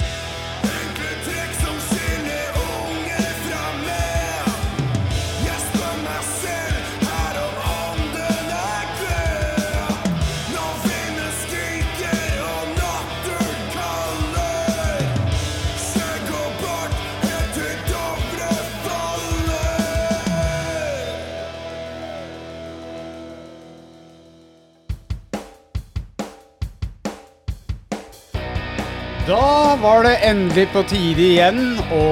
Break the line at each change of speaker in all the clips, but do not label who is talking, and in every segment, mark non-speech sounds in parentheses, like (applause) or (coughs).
Trekk som skiller unge fra menn. Jeg spør meg selv her om ånden er død. Når vinden skriker og natten kaller. Skjegg og bart helt til Dovre faller.
Da var det endelig på tide igjen å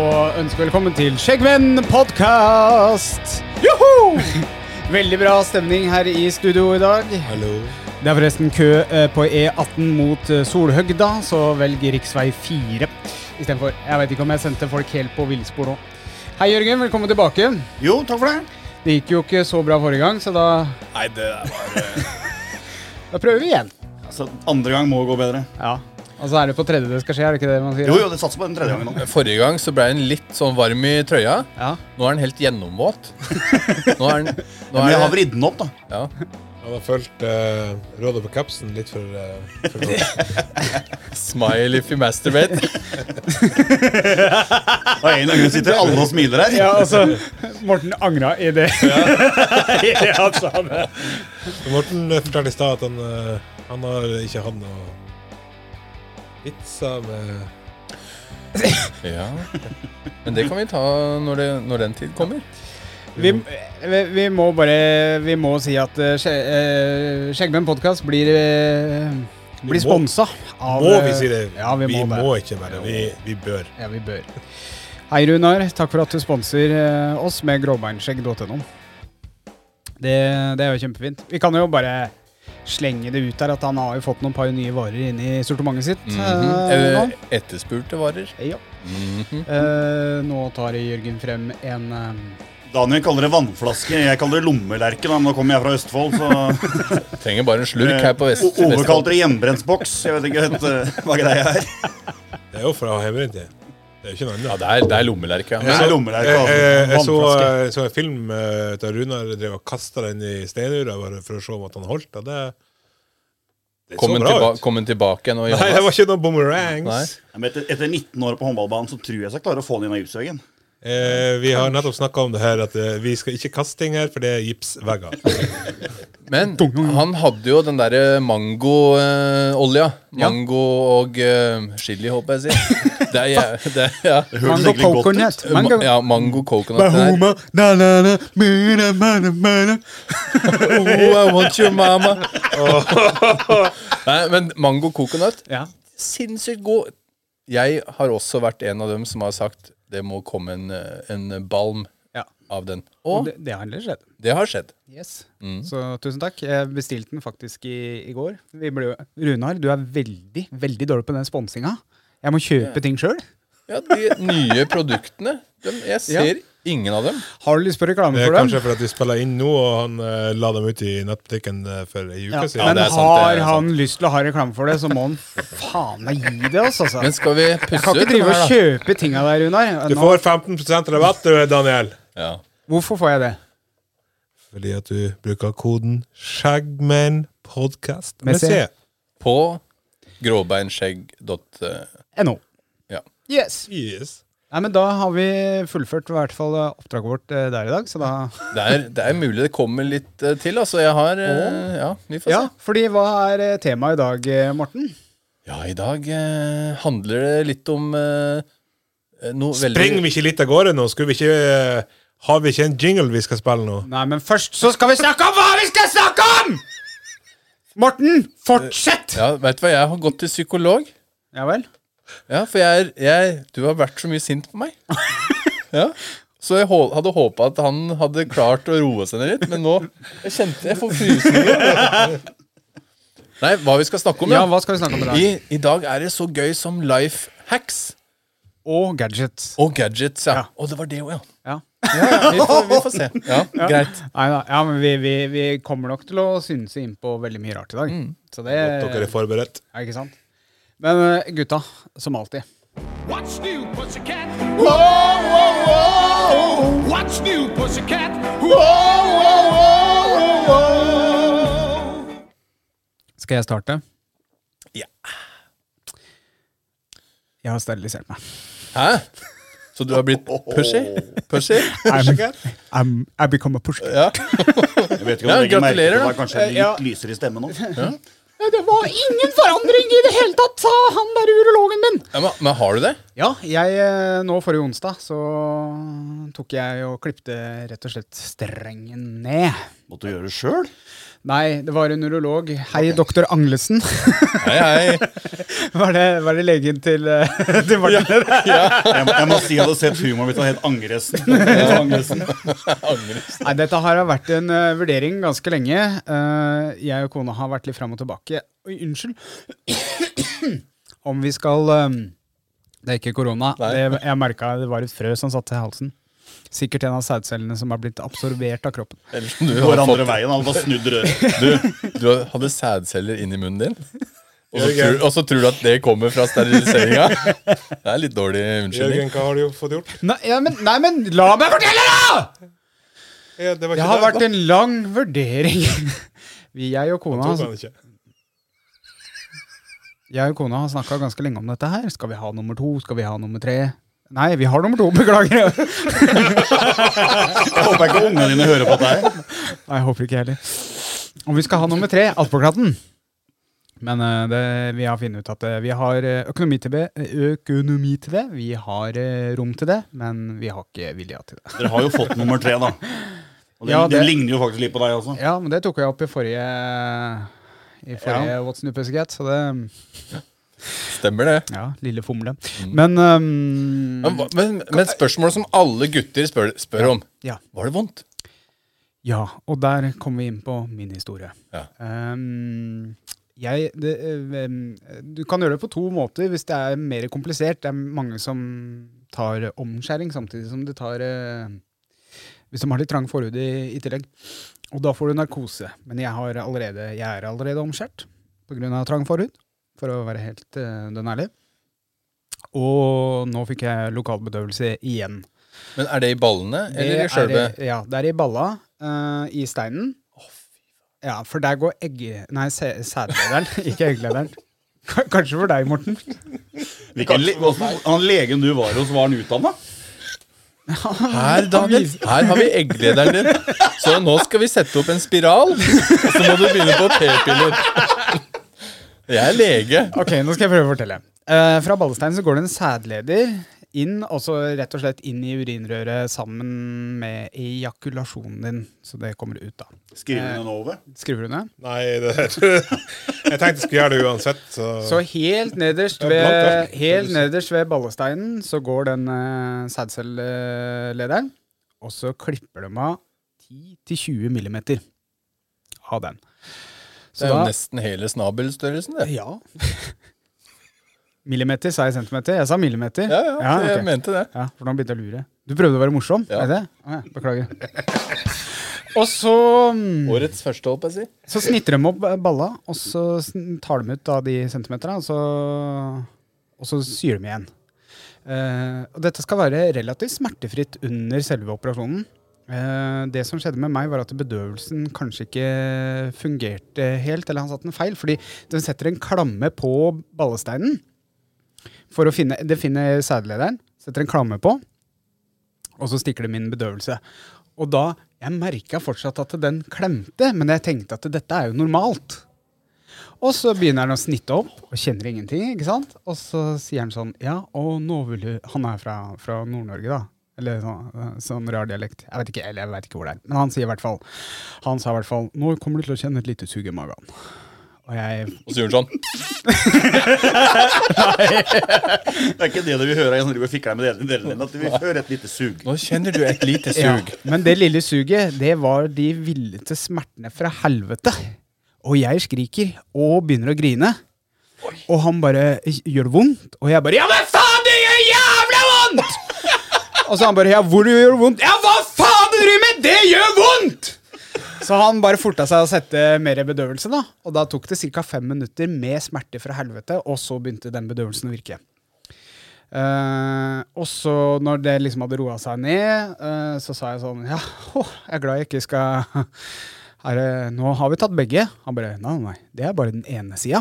ønske velkommen til Skjeggvenn podkast! Joho! (laughs) Veldig bra stemning her i studio i dag. Hallo. Det er forresten kø eh, på E18 mot eh, Solhøgda, så velg rv. 4 istedenfor. Jeg veit ikke om jeg sendte folk helt på villspor nå. Hei, Jørgen. Velkommen tilbake.
Jo, takk for det.
Det gikk jo ikke så bra forrige gang, så da,
Nei, det der var
da prøver vi igjen.
Altså, andre gang må gå bedre.
Ja. Og så er det på tredje det skal skje, er det ikke det man sier?
Jo, jo, det satser på den tredje gangen nå.
Forrige gang så ble den litt sånn varm i trøya.
Ja.
Nå er den helt gjennomvåt. Nå er den, nå
Men jeg har
er det,
vridd den opp, da.
ja.
Han har fulgt eh, rådet på kapsen litt for, eh, for godt.
Smile if you masturbate.
Av en eller annen grunn sitter alle og smiler her.
Ja, altså, Morten angra i det. Ja, altså, han
Morten eh, fortalte i stad at han, eh, han har ikke hatt noe pizza med
Ja. Men det kan vi ta når, det, når den tid kommer.
Vi, vi, vi må bare Vi må si at eh, Skje- eh, Skjeggmenn podkast blir eh,
må.
Blir sponsa av
Må vi
eh,
si det?
Ja, vi, må, det.
ikke bare. Vi, vi bør.
Ja, vi bør. Hei, Runar. Takk for at du sponser eh, oss med gråbeinskjegg.no. Det, det er jo kjempefint. Vi kan jo bare slenge det ut der at han har jo fått noen par nye varer inn i sortimentet sitt. eh, nå.
Eh, Etterspurte varer.
Ja.
Mhm.
Eh, nå tar Jørgen frem en eh,
Daniel kaller det vannflaske, jeg kaller det lommelerke. Da. men Nå kommer jeg fra Østfold, så
Trenger bare en slurk her på vest.
Eh, O- Ove
Vestfold.
kalte det hjemmebrensboks. Jeg vet ikke helt eh, hva greia er.
Det er jo for å ha hjemmebrent i. Det er jo ikke noe
Ja,
annet.
det er, det er lommelerke.
Det
Ja.
er lommelerke.
Jeg,
Altså.
jeg, jeg så,
Vannflaske.
eh, så en film eh, der Runar drev og kasta den i steinura bare for å se om at han holdt. Og det, det
Kom
så
den
bra
tilba
ut.
kom den tilbake igjen og
(laughs) Nei, det var
Johannes?
ikke noen boomerangs.
Ja, men etter, etter 19 år på håndballbanen så tror jeg så jeg klarer å få den inn av gipsveggen.
Eh, vi har nettopp snakka om det her at eh, vi skal ikke kaste ting her, for det er
(laughs)
gipsvegger.
Men han hadde jo den eh, derre mangoolja. eh, Mango og eh, chili, håper jeg å
(laughs)
si. Det er, jæ- det er, ja.
Det
Mango
egentlig godt ut.
coconut. Mango.
Ma- Ja, mango coconut der. Oh, I want your mama. (laughs) Nei, men mango coconut,
Ja.
sinnssykt god. Jeg har også vært en av dem som har sagt det må komme en, eh, en balm
ja.
av den.
Og
Og
det, det har endelig skjedd.
det har skjedd.
Yes.
Mm.
Så tusen takk. Jeg bestilte den faktisk i, i går. Vi ble, jo- Runar, du er veldig veldig dårlig på den sponsinga. Jeg må kjøpe ting sjøl.
Ja, De nye produktene dem, Jeg ser ingen av dem.
Har du lyst på reklame
Det er
for dem?
kanskje fordi at vi spiller inn nå, og han eh, la dem ut i nettbutikken eh, for ei uke
Ja.
siden.
Men
det er sant,
har
det er
han lyst til å ha reklame for det, så må han faen meg gi det oss, altså.
Men skal vi
Jeg
pusse
kan
ut
ikke drive og
da?
kjøpe tinga der, Runar.
Du
Nå,
får 15 rabatt, du, Daniel.
Ja.
hvorfor får jeg det?
Fordi at du bruker koden skjeggmennpodkast
Med
med
C.
C.
På gråbeinskjegg.no.
NO.
Ja.
Yes.
Yes.
Nei, men da har vi fullført i hvert fall eh, oppdraget vårt eh, der i dag, så da
Det, er- det er mulig det kommer litt eh, til. Altså, jeg har eh, Ja, vi får se.
(laughs) Ja, fordi hva er eh, temaet i dag, eh, Morten?
Ja, i dag eh, handler det litt om eh, noe
Springer vi ikke litt av gårde nå? Skulle vi ikke eh, Har vi ikke en jingle vi skal spille nå?
Nei, men først så skal vi snakke om hva vi skal snakke om! Morten, fortsett!
Ja, vet du hva, jeg har gått til psykolog.
Ja vel?
Ja, for jeg er jeg, Du har vært så mye sint på
(laughs)
meg. Ja. Så jeg hå- hadde håpa at han hadde klart å roe seg ned litt, men nå Jeg kjente jeg får frysninger. Nei, hva vi skal snakke om,
Ja, hva skal vi snakke om i dag?
I, I dag er det så gøy som life hacks
Og gadgets.
og gadgets. Ja.
Ja.
Og det var det òg, ja.
Ja.
Ja, ja vi, får, vi får se.
(laughs)
Ja, Greit.
Nei da. Ja, men vi, vi, vi kommer nok til å synse innpå veldig mye rart i dag. Så det
At dere er forberedt?
Ja, ikke sant? Men eh, gutta, som alltid.
What's new, pussycat? Whoa, whoa, whoa! What's new, pussycat? Whoa, whoa, whoa, whoa,
Skal jeg starte?
Ja.
Jeg har sterilisert meg.
Hæ? Så du har blitt pushy?
(laughs)
Pushy?
I'm, I'm, I become a pusher.
Ja.
Jeg vet ikke
Ja,
om du legger merke til
gratulerer,
det
da.
er kanskje litt
Eh, ja.
lysere i stemmen nå.
Det var ingen forandring i det hele tatt, sa han der urologen min!
Ja, men, men har du det?
Ja, jeg, eh, nå forrige onsdag så tok jeg og klipte rett og slett strengen ned.
Måtte du gjøre det sjøl?
Nei, det var en urolog. Hei, doktor Anglesen.
Hei, hei.
(laughs) Var det, var det legen til, eh, (laughs) til Martin?
Jeg, må- jeg må si jeg hadde sett humoren min og helt angresen. Ja. angresen.
Angres.
Nei, dette her har vært en eh, vurdering ganske lenge. Eh, jeg og kona har vært litt fram og tilbake. Oi, unnskyld. (coughs) Om vi skal eh, Det er ikke korona.
Nei.
Det, jeg merka det var et frø som satt i halsen. Sikkert en av sædcellene som har blitt absorbert av kroppen.
Eller som du,
Går
har
andre
fått,
veien, han bare snudd røret.
du, du hadde sædceller inni munnen din, og så, tror, og så tror du at det kommer fra steriliseringa? Det er litt dårlig unnskyldning.
Jørgen, hva har du fått gjort?
Nei, ja, men, nei, men la meg fortelle, da!
Ja, det var
Det
ikke
har
det.
vært en lang vurdering. (laughs) Vi, jeg og kona
Tok han ikke.
Jeg og kona har snakka ganske lenge om dette her. Skal vi ha nummer to? Skal vi ha nummer tre? Nei, vi har nummer to, (laughs) beklager. Nei,
Jeg håper ikke ungene dine hører på deg.
jeg håper ikke jeg heller. Om vi skal ha nummer tre, attpåklatten. Men eh, det, vi har funnet ut at eh, vi har eh, økonomi til, det, økonomi til det. Vi har eh, rom til det, men vi har ikke vilja til det.
Dere har jo fått nummer tre, da. Og den,
Ja, det-
den ligner jo faktisk litt på deg også.
Ja, men det tok jeg opp i forrige i forrige What's New Pussycat, så det
Stemmer det.
Ja, lille fomle. Men ehm,
Mm. Men, hva- men, men spørsmål som alle gutter spør, spør om.
Ja.
Var det vondt?
Ja, og der kommer vi inn på min historie.
Ja.
Ehm, jeg, det, eh, em, du kan gjøre det på to måter hvis det er mer komplisert. Det er mange som tar omskjæring samtidig som de tar eh, Hvis de har litt trang forhud i, i tillegg. Og da får du narkose. Men jeg, har allerede, jeg er allerede omskjært pga. trang forhud, for å være helt eh, dønn ærlig. Og nå fikk jeg lokalbedøvelse igjen.
Men er det i ballene eller i
Det
sjølve?
er i- Ja, det er i balla, eh, i steinen. Ja, for der går egg... Nei, sæ- sædlederen, (laughs) ikke egglederen. K- Kanskje for deg, Morten.
Hvilken le hvordan- han legen du var hos, var han utdanna?
Her, Daniel, her har vi egglederen din. Så nå skal vi sette opp en spiral, og så må du begynne på p-piller. Jeg er lege.
(laughs) Ok, nå skal jeg prøve å fortelle. Eh, fra ballesteinen så går det en sædleder inn, og så rett og slett inn i urinrøret sammen med ejakulasjonen din. Så det kommer ut, da.
Skriver
Eh.
hun den over?
Skriver du ned?
Nei, det (laughs) Jeg tenkte jeg skulle gjøre det uansett. Så.
Så helt nederst
Det er blankt,
ved,
ja.
helt nederst ved ballesteinen så går den uh, sædcellelederen, og så klipper de av 10-20 millimeter av den.
Det er jo nesten hele snabelstørrelsen, det.
Ja. millimeter, sa jeg centimeter? Jeg sa millimeter.
Ja, ja, jeg
ok.
mente det.
Ja, for nå begynte jeg å lure. Du prøvde å være morsom?
Ja.
Er det? Å ja,
(laughs)
beklager. og så mm,
Årets første, holdt jeg å si.
Så snitter de opp balla, og så sn- tar de ut da de centimeterne, og så, og så syr de igjen. Eh, og dette skal være relativt smertefritt under selve operasjonen. Eh, det som skjedde med meg, var at bedøvelsen kanskje ikke fungerte helt, eller han satte en feil, fordi den setter en klamme på ballesteinen. For å finne, det finner sædlederen, setter en klamme på, og så stikker det min bedøvelse. Og da, jeg merka fortsatt at den klemte, men jeg tenkte at dette er jo normalt. Og så begynner han å snitte opp og kjenner ingenting. ikke sant? Og så sier han sånn Ja, og nå vil du Han er fra, fra Nord-Norge, da. Eller sånn, sånn rar dialekt. Jeg vet ikke eller jeg vet ikke hvor det er. Men han sier i hvert fall Han sa i hvert fall Nå kommer du til å kjenne et lite sug i magen. Og jeg
Og så gjorde han sånn.
Det er ikke det du vil høre når du fikler med delene dine. At du vil høre et lite sug.
Nå kjenner du et lite sug.
Ja, men det lille suget, det var de villete smertene fra helvete. Og jeg skriker og begynner å grine. Og han bare Gjør det vondt? Og jeg bare Ja, hva faen, det gjør jævla vondt! og så han bare Ja, hvor det gjør vondt? Ja, hva faen du driver med? Det gjør vondt! Så han bare forta seg å sette mer bedøvelse, da. Og da tok det ca. fem minutter med smerte fra helvete, og så begynte den bedøvelsen å virke. Eh, og så når det liksom hadde roa seg ned, eh, så sa jeg sånn Ja, åh, jeg er glad jeg ikke skal (laughs) er det, nå har vi tatt begge. Han bare, nei, nei, det er bare den ene sida.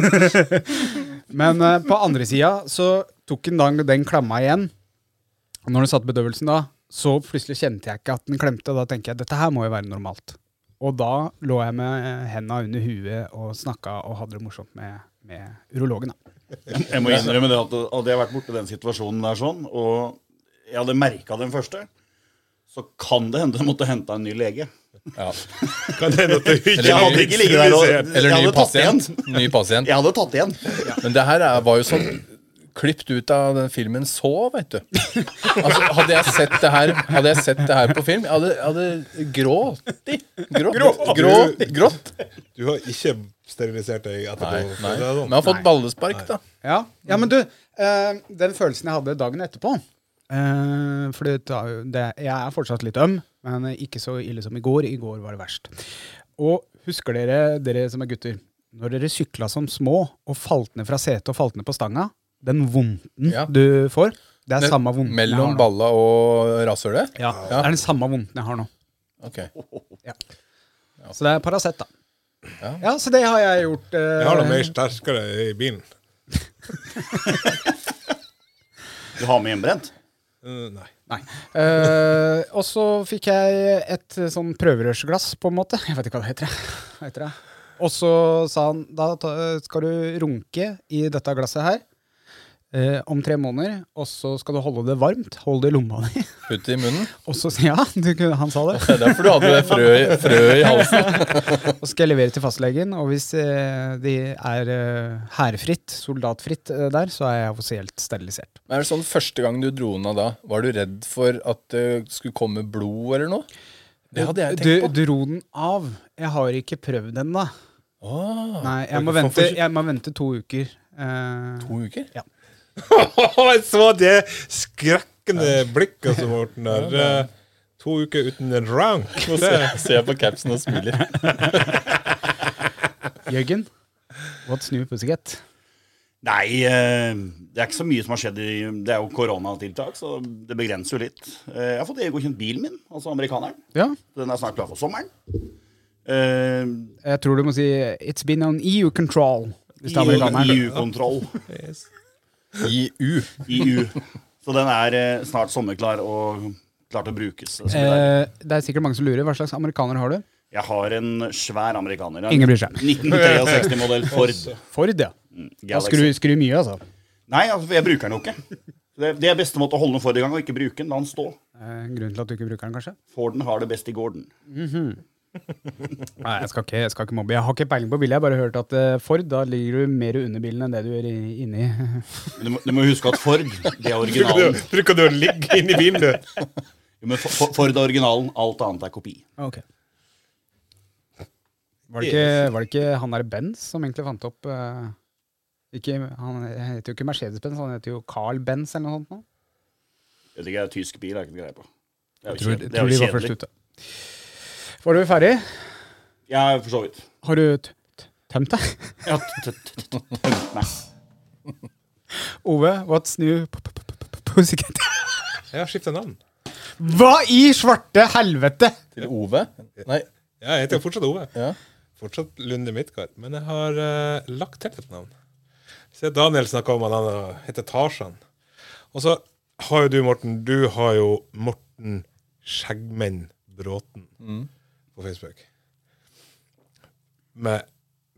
(laughs) Men eh, på andre sida så tok han da den klamma igjen. Og når den satt bedøvelsen da, så plutselig kjente jeg ikke at den klemte. Da tenker jeg, dette her må jo være normalt. Og da lå jeg med eh, henda under huet og snakka og hadde det morsomt med, med urologen. da.
Jeg må innrømme det at hadde jeg vært borte i den situasjonen der sånn, og jeg hadde merka den første, så kan det hende jeg måtte hente en ny lege.
Ja.
Kan det hende at du ikke
Eller-
Jeg hadde ikke ligget der og
Eller
Jeg
ny
hadde tatt igjen.
pasient. Ny pasient.
Jeg hadde tatt igjen.
Men det her er, var jo sånn klippet ut av den filmen så, veit du. Altså, hadde, jeg sett det her, hadde jeg sett det her på film, jeg hadde, jeg hadde grått. Grått. Grått. grått.
Du har ikke sterilisert deg etterpå.
Nei,
for
nei.
det er sånn.
Men jeg har fått ballespark, da.
Ja. ja, men du, eh, den følelsen jeg hadde dagen etterpå eh, For det, tar jo- det, jeg er fortsatt litt øm, men eh, ikke så ille som i går. I går var det verst. Og husker dere, dere som er gutter, når dere sykla som små og falt ned fra setet og falt ned på stanga? Den vondten
Ja.
du får, det er samme vondten jeg har
Mellom
nå.
balla og rasshølet?
Ja, Det er den samme vondten jeg har nå.
Ok.
Så det er Paracet, da. Ja. så det har jeg gjort. eh,
Jeg har da mer sterkere i bilen.
Du har med hjemmebrent?
Eh, (laughs) nei.
Nei. Eh, og så fikk jeg et eh, sånn prøverørsglass, på en måte. Jeg vet ikke hva det heter. jeg. Hva heter det? Og så sa han da ta- skal du runke i dette glasset her eh, om tre måneder, og så skal du holde det varmt. Hold det i lomma di. (laughs)
Putt i munnen.
Og så sier ja, du, kunne- han sa det.
(laughs) Det er derfor du hadde det frø, i- frø i halsen.
Og så skal jeg levere til fastlegen, og hvis eh, de er eh, hærfritt, soldatfritt eh, der, så er jeg offisielt sterilisert.
Men er det sånn Første gang du dro den av da, var du redd for at det skulle komme blod eller noe? Det hadde jeg
Du
tenkt på.
dro den av. Jeg har ikke prøvd den, da.
Åh,
Nei, jeg må
for-
vente,
for-
jeg må vente to uker. Eh,
to uker?
Jeg så det skrekkende blikket som Morten (laughs) har. Eh, To uker uten en rank.
Nå ser jeg- ser jeg på capsen og smiler.
Jørgen, what's new pussycat?
Nei, eh, det er ikke så mye som har skjedd. I, det er jo koronatiltak, så det begrenser jo litt. Eh, Jeg har fått EU-godkjent bilen min, altså amerikaneren.
Ja,
Den er snart klar for sommeren. Eh,
jeg tror du må si It's been on EU control. Hvis
E
det er amerikaneren.
EU-kontroll.
IU.
EU. Så den er eh, snart sommerklar og klar til å brukes. Så det er-
Eh, det er sikkert mange som lurer. Hva slags amerikaner har du?
Jeg har en svær amerikaner.
Ingen bryr seg.
1963-modell Ford.
Ford, ja.
Mm,
Da skru,
Galaxy.
skru mye, altså.
Nei, altså, jeg bruker den jo ikke. Det, det er beste måte å holde den Ford i gang, og ikke bruke den. La den stå.
Eh, grunnen til at du ikke bruker den, kanskje?
Forden har det best i Gordon.
Nei, jeg skal ikke, jeg skal ikke mobbe. Jeg har ikke peiling på bilen. Jeg har bare hørt at eh, Ford, da ligger du mer under bilen enn det du gjør i- inni.
Men Du må, du må huske at Ford, det er originalen.
(laughs) Bruker du å ligge inni bilen, (laughs) du?
Jo, Men for, for, for det originalen, alt annet er kopi.
Ah, Ok. Var det, ikke, var det ikke han der Benz som egentlig fant opp eh, ikke, Han heter jo ikke Mercedes-Benz, han heter jo Carl Benz eller noe sånt. nå.
Jeg vet ikke, det er tysk bil, jeg har ikke greie på. Det er jo
Tror,
kjedelig. Det
tror
er
de
jo
var først
kjedelig.
ute. Var du ferdig?
Ja, for så vidt.
Har du t t tømt deg? (laughs)
Ja, t- t- t- t- Nei.
Ove, what's new p- p- p- p- pussycat?
Jeg har skifta navn.
(laughs) Hva i svarte helvete?!
Til Ove? Nei.
Ja, jeg heter jo fortsatt Ove.
Ja.
Fortsatt Lunde Midtgard. Men jeg har eh, lagt til et navn. Se, Daniel snakka om at han eh, heter Tarzan. Og så har jo du, Morten, du har jo Morten Skjeggmenn Bråten
Mm.
på Facebook. Med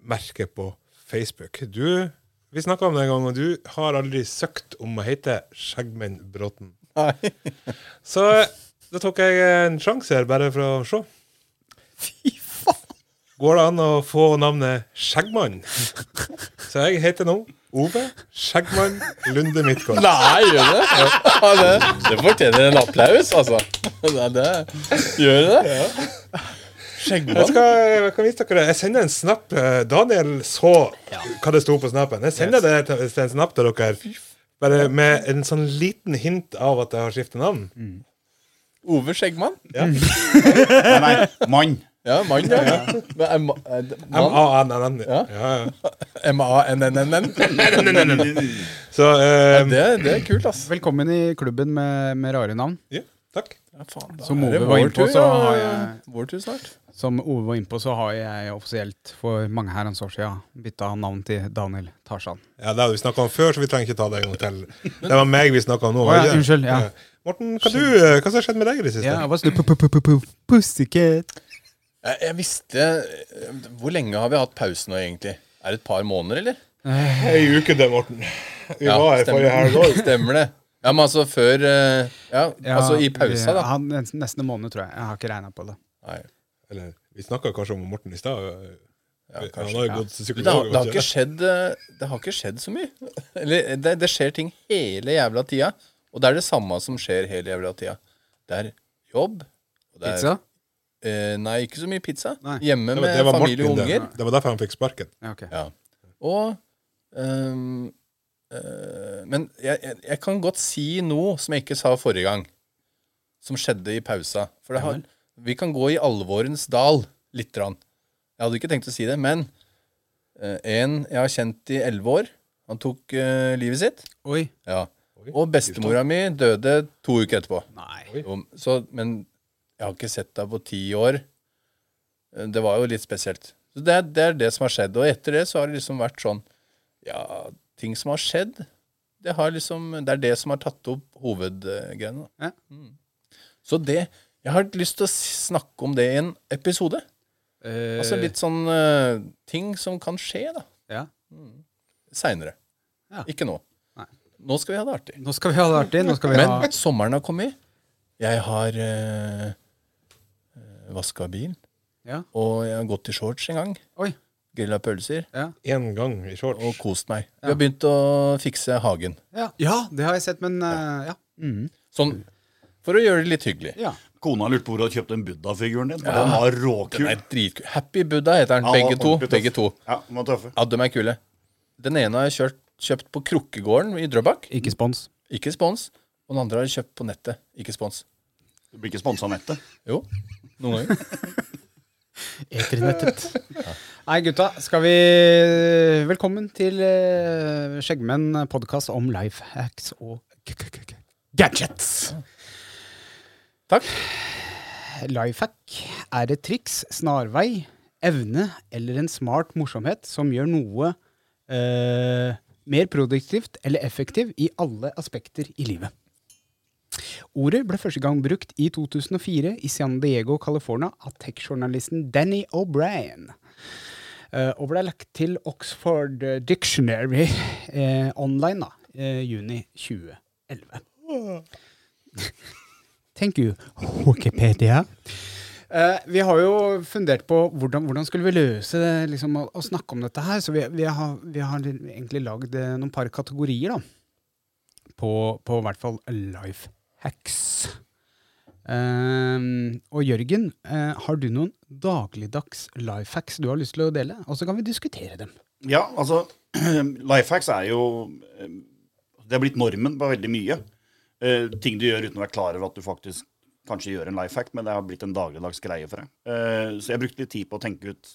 merke på Facebook. Du, vi snakka om det en gang, og du har aldri søkt om å hete Skjeggmenn Bråten.
Nei.
(laughs) Så eh, da tok jeg en sjanse her, bare for å se.
(laughs) Fy faen!
Går det an å få navnet Skjeggmann?
(laughs)
Så jeg heter nå Ove Skjeggmann Lunde Midtgaard.
Nei, gjør det? Ja, det? Det fortjener en applaus, altså. Det, det. Gjør det?
Jeg,
Skjeggmann?
skal, jeg kan vise dere Jeg sender en snap. eh, Daniel så hva det sto på snapen. Jeg sender det til til en snap til dere. Bare med en sånn liten hint av at jeg har skiftet navn.
Mm. Ove Skjeggmann?
Nei, nei, mann.
Ja, mann, ja. Men er ma- er det mann?
M-A-N-N-N.
Ja.
Ja, ja.
M-A-N-N-N-N?
Så eh,
Det, det er kult, ass.
Velkommen i klubben med, med rare navn.
eh, ja, Takk.
Ja, faen, da
Som
er det
Ove var
vår
inne på,
tur,
så
ja.
har jeg-
Vår tur snart.
Som Ove var inne på, så har jeg offisielt for mange herrens år siden bytta navn til Daniel Tarzan.
Ja, Det hadde vi snakka om før, så vi trenger ikke ta det en gang til. Det var meg vi snakka om nå.
Å, ja,
var det ikke?
unnskyld, ja.
Morten, hva, du, eh, hva som har skjedd med deg i det siste?
Ja, hva snu- pu- pu- pu- pu- pu- Pussycat.
Jeg, jeg visste eh, Hvor lenge har vi hatt pause nå, egentlig? Er det et par måneder, eller?
Ei uke, det, Morten. Vi var her forrige helg
stemmer,
òg.
(laughs) stemmer det. Ja, men altså før eh, Ja,
Ja,
altså i
vi-
pausa, da.
Han, nesten- nesten en måned, tror jeg. Jeg har ikke regna på det.
Nei.
Eller, vi snakka kanskje om Morten i stad. eh,
kanskje,
Han har jo gått
Det,
til
har-
psykolog.
det, har ikke skjedd, eh, det har ikke skjedd så mye. (laughs) Eller det, det skjer ting hele jævla tida. Og det er det samme som skjer hele jævla tida. Det er jobb. og det er-
Pizza?
Eh, nei, ikke så mye pizza.
Nei.
Hjemme
Det var-
med
det var
familie og
Morten, det.
unger.
Det var derfor han fikk sparken.
Ja, ok.
Ja. Og ehm, eh, Men jeg, jeg, jeg kan godt si noe som jeg ikke sa forrige gang, som skjedde i pausa. For det har, vi kan gå i alvorens dal lite grann. Jeg hadde ikke tenkt å si det, men eh, en jeg har kjent i elleve år, han tok eh, livet sitt.
Oi.
Ja. Og bestemora mi døde to uker etterpå.
Nei.
Jo, Så, men jeg har ikke sett deg på ti år. Eh, Det var jo litt spesielt. Så det, er- det er det som har skjedd. Og etter det så har det liksom vært sånn Ja, ting som har skjedd, det, har liksom, det er det som har tatt opp hovedgreiene. da.
Ja.
Mm. Så det Jeg har lyst til å s- snakke om det i en episode.
Eh,
Altså litt sånn eh, ting som kan skje, da.
ja.
Seinere.
Ja.
Ikke nå.
Nei.
Nå skal vi ha det artig.
Nå skal vi ha det artig. Nå skal vi ha
Men sommeren har kommet. Jeg har øh, vaska bil.
Ja.
Og jeg har gått i shorts en gang.
Oi.
Grilla pølser.
Én gang i shorts.
Og kost meg. Vi har begynt å fikse hagen.
ja. ja, det har jeg sett, men eh, ja.
Sånn for å gjøre det litt hyggelig.
ja.
Kona lurte på hvor du hadde kjøpt den Buddha-figuren din. Og den var råkul.
Den er dritkul. Happy Buddha heter den.
Ja,
Begge to.
ordentlig tøff.
Begge to.
Ja, den var tøffe.
Ja, de er kule. Den ene har jeg kjørt, kjøpt på Krukkegården i Drøbak.
Ikke spons.
Ikke spons. Og den andre har jeg kjøpt på nettet. Ikke spons.
Du blir ikke sponsa av nettet.
Jo, noen ganger.
Eternettet. (laughs) Nei, gutta. Skal vi Velkommen til eh, Skjeggmenn podkast om life hacks og k- k- k- k- gadgets.
Takk.
Life hack er et triks, snarvei, evne eller en smart morsomhet som gjør noe eh, mer produktivt eller effektiv i alle aspekter i livet. Ordet ble første gang brukt i 2004 i San Diego, California av tech-journalisten Danny O'Brien. Eh, og ble lagt til Oxford Dictionary eh, online da, eh, juni 2011. (laughs) Thank you, Wikipedia. Eh, vi har jo fundert på hvordan, hvordan skulle vi løse det, liksom, å, å snakke om dette her. Så vi, vi, har, vi har egentlig lagd eh, noen par kategorier, da på, på i hvert fall life hacks. Ehm, og Jørgen, eh, har du noen dagligdags life hacks du har lyst til å dele? Og så kan vi diskutere dem.
Ja, altså (clears throat) Life hacks er jo eh, Det er blitt normen på veldig mye. Eh, ting du gjør uten å være klar over at du faktisk kanskje gjør en life hack, men det har blitt en dagligdags greie for deg. Eh, så jeg brukte litt tid på å tenke ut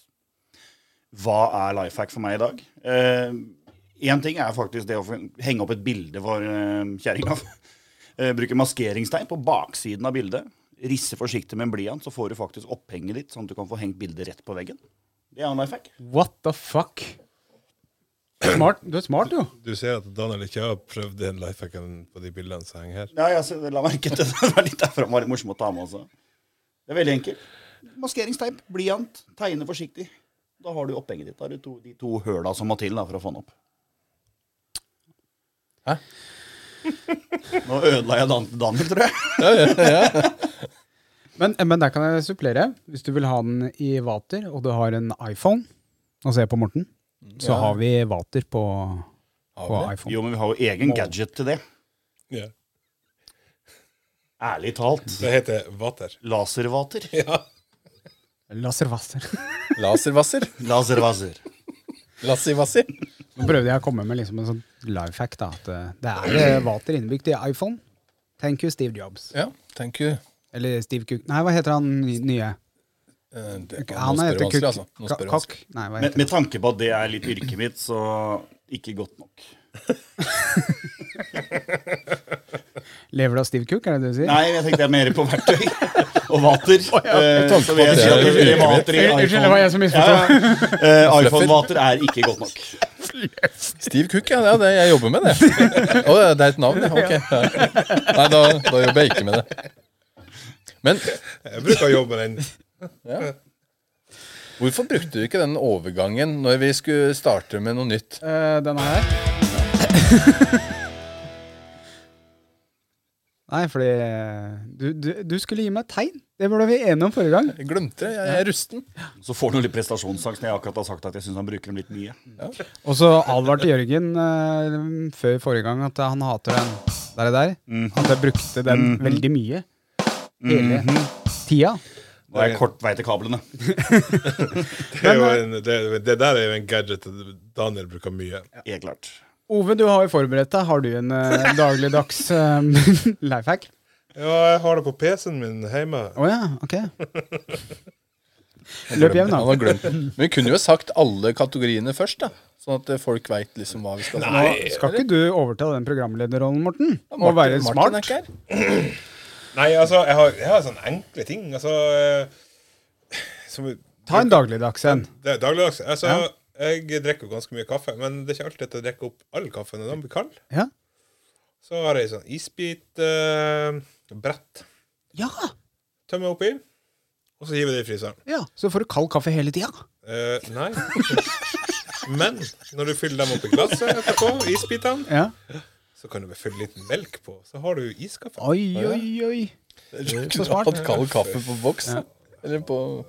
hva er life hack for meg i dag. Én ting er faktisk det å få henge opp et bilde for uh, kjerringa. (laughs) Eh, bruke maskeringstegn på baksiden av bildet. Risse forsiktig med en blyant, så får du faktisk opphenget ditt, sånn at du kan få hengt bildet rett på veggen. Det er en life hack.
What the fuck? Smart. Du er smart, jo.
Du ser at Daniel ikke har prøvd den life hacken på de bildene som henger her.
Ja, jeg ser- la merke til det. (laughs) Det var litt derfra. Det var litt morsomt å ta med også. Det er veldig enkelt. Maskeringsteip, blyant, tegne forsiktig. Da har du opphenget ditt. Da har du to, de to høla som må til da, for å få den opp.
Hæ?
(laughs) Nå ødela jeg Dan Daniel, tror jeg.
Men, men der kan jeg supplere. Hvis du vil ha den i vater, og du har en iPhone, og ser på Morten, så har vi vater på, på iPhone.
Jo, men vi har jo egen gadget til det.
Ja.
Ærlig talt.
Det heter Vater.
Laservater.
(laughs) Laservasser. (laughs)
Laservasser.
Laservaser.
Lassivassi.
Nå prøvde jeg å komme med liksom en sånn life hack. da, At eh, det er eh, vater innebygd i iPhone. Thank you, Steve Jobs.
Ja, thank you.
Eller Steve Cook Nei, hva heter han ny- nye?
Eh, det-
Han
nå spør
heter
du vanskelig,
Cook.
altså. Nå
Ka-
spør du
Kokk?
vanskelig.
Nei, hva
Med,
heter
med tanke på at det er litt yrket mitt, så ikke godt nok.
han? Lever du av stiv kuk, er det det du sier?
Nei, jeg tenkte jeg mer på verktøy og vater. Eh,
Jeg
så vil jeg
tenkte
si
på
at
det.
det er vater i
Unnskyld,
iPhone.
det var jeg som misforstod.
Ja, ja. Eh, iPhone-vater er ikke godt nok.
Stiv kukk, ja. Det er det jeg jobber med, det. Å, ja, det er et navn, ja. Ok. Ja. Nei, da, da jobber jeg ikke med det. Men
Jeg bruker å jobbe med (laughs) den.
hvorfor brukte du ikke den overgangen når vi skulle starte med noe nytt?
Eh, denne her.
(laughs)
Nei, fordi eh, du, du, du skulle gi meg et tegn. Det ble vi enige om forrige gang.
Jeg glemte det. Jeg, jeg er rusten.
Så får du litt prestasjonsangst når jeg akkurat har sagt at jeg syns han bruker dem litt mye.
Og så advarte Jørgen eh, før forrige gang at han hater den der. der. At jeg brukte den veldig mye. Hele tida.
Da er jeg kort vei til kablene.
Det, er jo en, det, det der er jo en gadget Daniel bruker mye.
Helt klart.
Ove, du har jo forberedt deg. Har du en eh, dagligdags eh, (laughs) life hack?
Ja, jeg har det på PC-en min hjemme.
Å ja, ok. Løp hjem, da.
Han har glemt den. Men vi kunne jo sagt alle kategoriene først, da. Sånn at eh, folk veit liksom hva vi skal snakke om.
Nå skal ikke du overta den programlederrollen, Morten?
Ja,
Og være
Martin er
smart?
ikke her.
Nei, altså, jeg har, jeg har sånne enkle ting. Altså eh, som,
Ta en dagligdags en.
Det er dagligdags. Altså, Jeg drikker jo ganske mye kaffe, men det er ikke alltid at jeg drikker opp all kaffen når den blir kald.
Ja.
Så har jeg sånn isbitbrett. Uh,
Ja,
Tømmer oppi, og så hiver jeg det i fryseren.
ja. Så får du kald kaffe hele tida.
Eh, nei. Men når du fyller dem opp i glasset etterpå, isbitene,
Ja.
så kan du bare fylle litt melk på. Så har du jo iskaffe.
Oi, oi, oi. Så
Kunne
smart.
hatt kald kaffe på boks. da. Eller på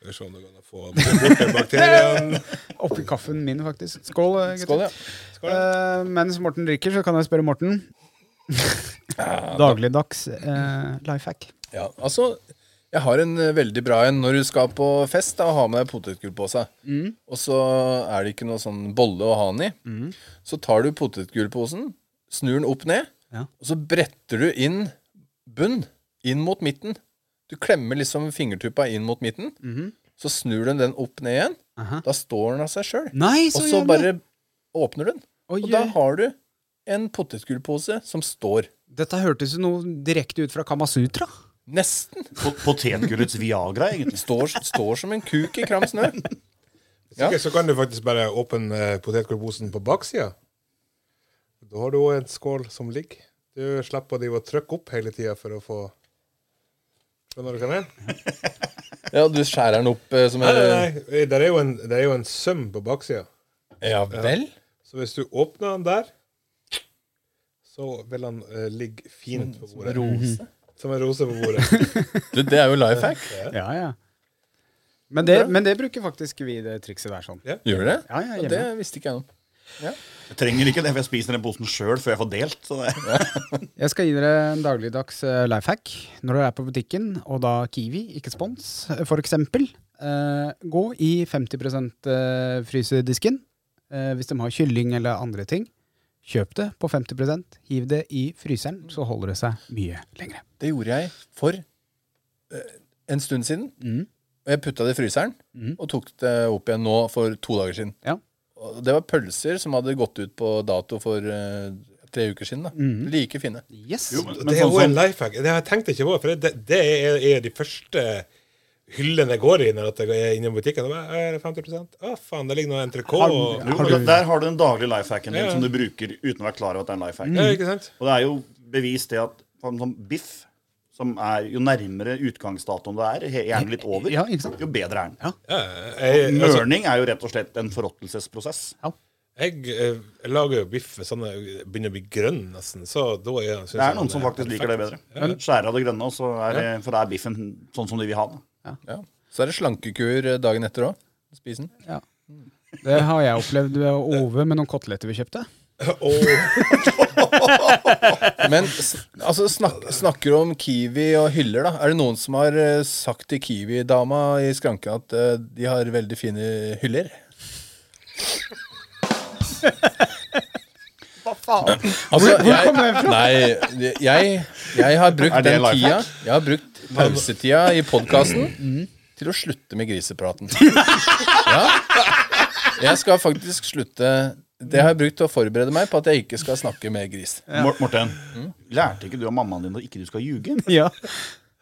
Skal vi se om sånn du kan få bort de bakteriene.
Oppi kaffen min, faktisk. Skål, eh, gutter.
Skål, ja.
Eh, mens Morten drikker, så kan jeg spørre Morten. (laughs) Dagligdags uh, life hack.
Ja, altså Jeg har en eh, veldig bra en når du skal på fest da, og har med deg potetgull på seg.
Mm.
Og så er det ikke noe sånn bolle å ha den i. Så tar du potetgullposen, snur den opp ned,
Ja.
og så bretter du inn bunn inn mot midten. Du klemmer liksom fingertuppa inn mot midten. Så snur du den opp ned igjen.
Mhm. Aha.
Da står den av seg sjøl.
Nei,
Og så bare åpner du den.
Oi,
og da
oi.
har du en potetgullpose som står.
Dette hørtes jo noe direkte ut fra Kamasutra.
Nesten.
Po- Potetgullets Viagra, egentlig.
Står, står som en kuk i kram snø.
Ok, så kan du faktisk bare åpne eh, potetgullposen på baksida. Da har du òg en skål som ligger. Du slipper å drive og trykke opp hele tida for å få Skjønner du hva jeg mener?
Ja, du skjærer den opp eh, som
Nei,
en
nei, nei. Det er jo en, det er jo en søm på baksida.
Ja vel?
Så hvis du åpner den der, så vil den eh, ligge fint på bordet. Mhm.
Rose.
Som en rose på bordet. (laughs)
Du, det er jo life hack.
Ja, ja. Men det, men det bruker faktisk vi, det trikset der. sånn.
Gjør du det?
Ja, ja,
det
hjemme.
visste ikke jeg om.
Jeg trenger ikke det, for jeg spiser den posen sjøl før jeg får delt. Så det er
Jeg skal gi dere en dagligdags eh, life hack når dere er på butikken, og da Kiwi, ikke spons, for eksempel. Eh, gå i 50 eh, frysedisken. Eh, hvis de har kylling eller andre ting, kjøp det på 50 hiv det i fryseren, så holder det seg mye lengre.
Det gjorde jeg for eh, en stund siden. Og jeg putta det i fryseren og tok det opp igjen nå for to dager siden.
Ja.
Og det var pølser som hadde gått ut på dato for eh, tre uker siden. da. Like fine.
Yes.
jo, men,
Det
men
er
sånn,
jo en
sånn,
life hack. Det har jeg tenkt ikke på, for det, det er, er de første hyllene jeg går i når at jeg er innom butikken. Og bare, er det 50 Å, faen, det ligger noe entrecôte og
jo, men der har du den daglige life hacken din
Ja, ja.
som du bruker uten å være klar over at det er en life hack.
ja, Ikke sant?
Og det er jo bevist det at sånn, sånn biff, som er jo nærmere utgangsdatoen det er, he- gjerne litt over,
Ja, ikke sant?
jo bedre er den.
Ja, jeg, altså,
Mørning er jo rett og slett en forråtnelsesprosess.
jeg, eh, jeg lager jo biff sånn at jeg begynner å bli grønn, nesten. Så da er jeg, synes
Det er
jeg
noen som
den er
faktisk liker det
perfekt.
bedre. Skjære av det grønne, og så er, det- for da er biffen sånn som de vil ha den.
Ja. Så er det slankekur eh, dagen etter òg. Spis den.
Ja. Det har jeg opplevd ved Ove med noen koteletter vi kjøpte.
Åh,
Men s- altså, snak, snakker du om Kiwi og hyller, da. Er det noen som har eh, sagt til Kiwi-dama i skranken at eh, de har veldig fine hyller? Altså, jeg, nei, jeg, jeg har brukt
Er det
den
en life
tida
hack?
Jeg har brukt pausetida i podkasten til å (laughs) slutte med grisepraten. Ja. Jeg skal faktisk slutte Det har jeg brukt til å forberede meg på at jeg ikke skal snakke med gris.
Mor- Morten, lærte ikke du av mammaen din at ikke du skal ljuge?
(laughs) Ja.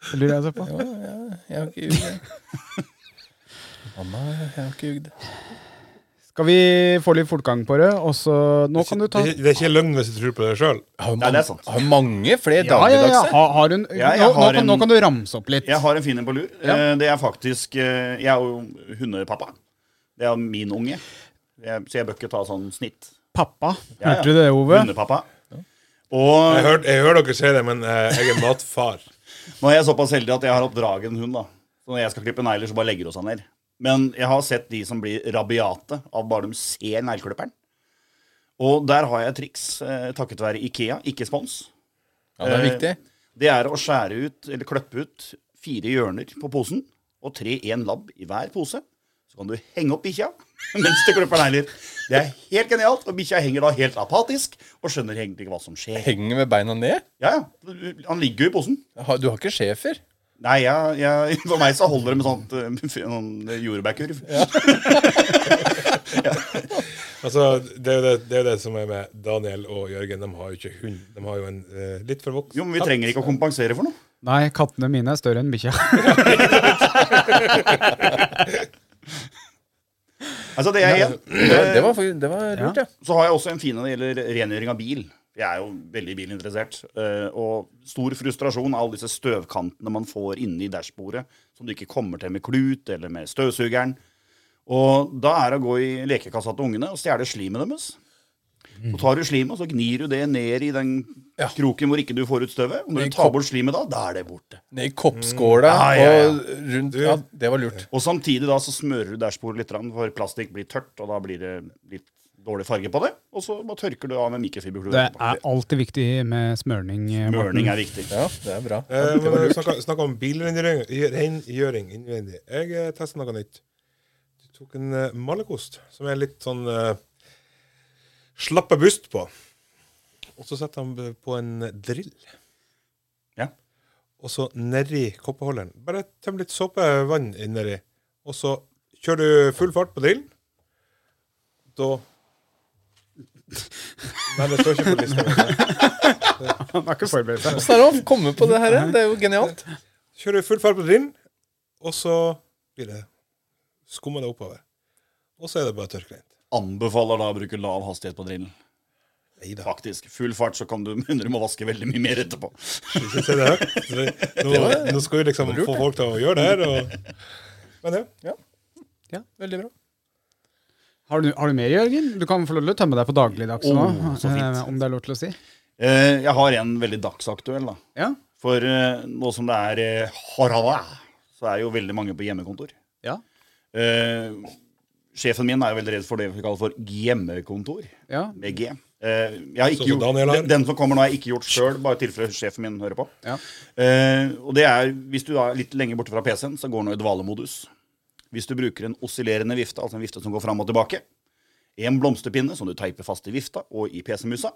Det lurer jeg også på.
Jeg har ikke (laughs) jugd. Mamma, jeg har ikke jugd.
Skal vi få litt fortgang på det? Og så Nå kan du ta
Det, det er ikke løgn hvis du tror på det sjøl.
Har
Ja, det er sant.
Har mange flere
Ja, ja, ja.
dagligdagse.
Har, har hun,
Ja, jeg
nå, nå,
har
kan, nå
en-
kan du ramse opp litt.
Jeg har en fin en på lur.
Ja.
Eh, Det er faktisk eh, Jeg er jo hundepappa. Det er min unge. Jeg, så jeg bør ikke ta sånn snitt.
Pappa.
Ja, ja.
Hørte du det, Ove?
Hundepappa. Og
Jeg hører jeg hører dere si det, men eh, jeg er matfar.
Nå er jeg såpass heldig at jeg har oppdragen hund, da. Så når jeg skal klippe negler, så bare legger hun seg ned. Men jeg har sett de som blir rabiate av bare de ser negleklipperen. Og der har jeg et triks, eh, takket være Ikea, ikke spons.
Ja, det er viktig.
Det er å skjære ut, eller kløppe ut, fire hjørner på posen, og tre én labb i hver pose. Så kan du henge opp bikkja (laughs) mens du klipper negler. Det er helt genialt, og bikkja henger da helt apatisk og skjønner egentlig ikke hva som skjer.
Henger med beina ned.
Ja, ja. Han ligger jo i posen.
Har- Du har ikke schæfer.
Nei, jeg, jeg, (laughs) for meg så holder det med sånt eh, f- sånn jordbærkurv.
Altså, det er, jo det, det er jo det som er med Daniel og Jørgen. De har jo ikke hund. De har jo en eh, litt for voksen
Jo, men vi trenger ikke å kompensere for noe.
Nei, kattene mine er større enn bikkja.
Altså, det er igjen.
Det var, det var, faktisk- det var lurt, ja.
Så har jeg også en fin en når det gjelder rengjøring av bil. Jeg er jo veldig bilinteressert. eh, Og stor frustrasjon av alle disse støvkantene man får inne i dashbordet, som du ikke kommer til med klut eller med støvsugeren. Og da er det å gå i lekekassa til ungene og stjele slimet deres. Så tar du slimet, og så gnir du det ned i den kroken hvor ikke du får ut støvet. Og når du tar bort slimet da, da er det borte.
Ned i koppskåla
Ja, ja, ja.
og rundt Ja, det var lurt.
Og samtidig da så smører du dashbordet litt, grann, for plastikk blir tørt, og da blir det litt dårlig farge på det. Og så bare tørker du av med mikrofiberklor.
Det er alltid viktig med smørning. eh, Morten.
Mørning er viktig.
Ja, det er bra.
Eh, men når du snakker, snakker om bilrengjøring rengjøring innvendig. Jeg eh, testet noe nytt. Du tok en eh, malerkost, som er litt sånn eh, slappe bust på. Og så setter han b- på en drill.
Ja.
Og så nedi koppeholderen. Bare tøm litt såpevann inn nedi. Og så kjører du full fart på drillen. Da Nei, det står ikke på lista. men-
Han har ikke forberedt seg.
Åssen er det å komme på det her? eh? Det er jo genialt.
kjører full fart på drillen, og så blir det skummer det oppover. Og så er det bare tørkleint.
Anbefaler da å bruke lav hastighet på drillen. Faktisk. Full fart, så kan du (laughs) men du må vaske veldig mye mer etterpå.
Ikke (laughs) se det her. Så Nå, nå skal vi liksom få folk til å gjøre det her. Og... Men ja.
Veldig bra.
Har du, har du mer, Jørgen? Du kan få lov til å tømme deg på dagligdags nå.
Åh, så fint.
eh, Om det er lov til å si.
(laughs) Eh, Jeg har en veldig dagsaktuell, da.
Ja.
For eh, nå som det er eh, harala, så er jo veldig mange på hjemmekontor.
Ja.
Eh, Sjefen min er jo veldig redd for det vi kaller for hjemmekontor.
ja. (laughs)
med G. Eh, jeg har ikke
Sånn som
gjort,
Daniel har.
den, den som kommer nå, har jeg ikke gjort sjøl, bare i tilfelle sjefen min hører på.
Ja.
Eh, og det er, Hvis du da er litt lenger borte fra PC-en, så går den nå i dvalemodus. Hvis du bruker en oscillerende vifte, altså en vifte som går fram og tilbake, en blomsterpinne som du teiper fast i vifta og i PC-musa,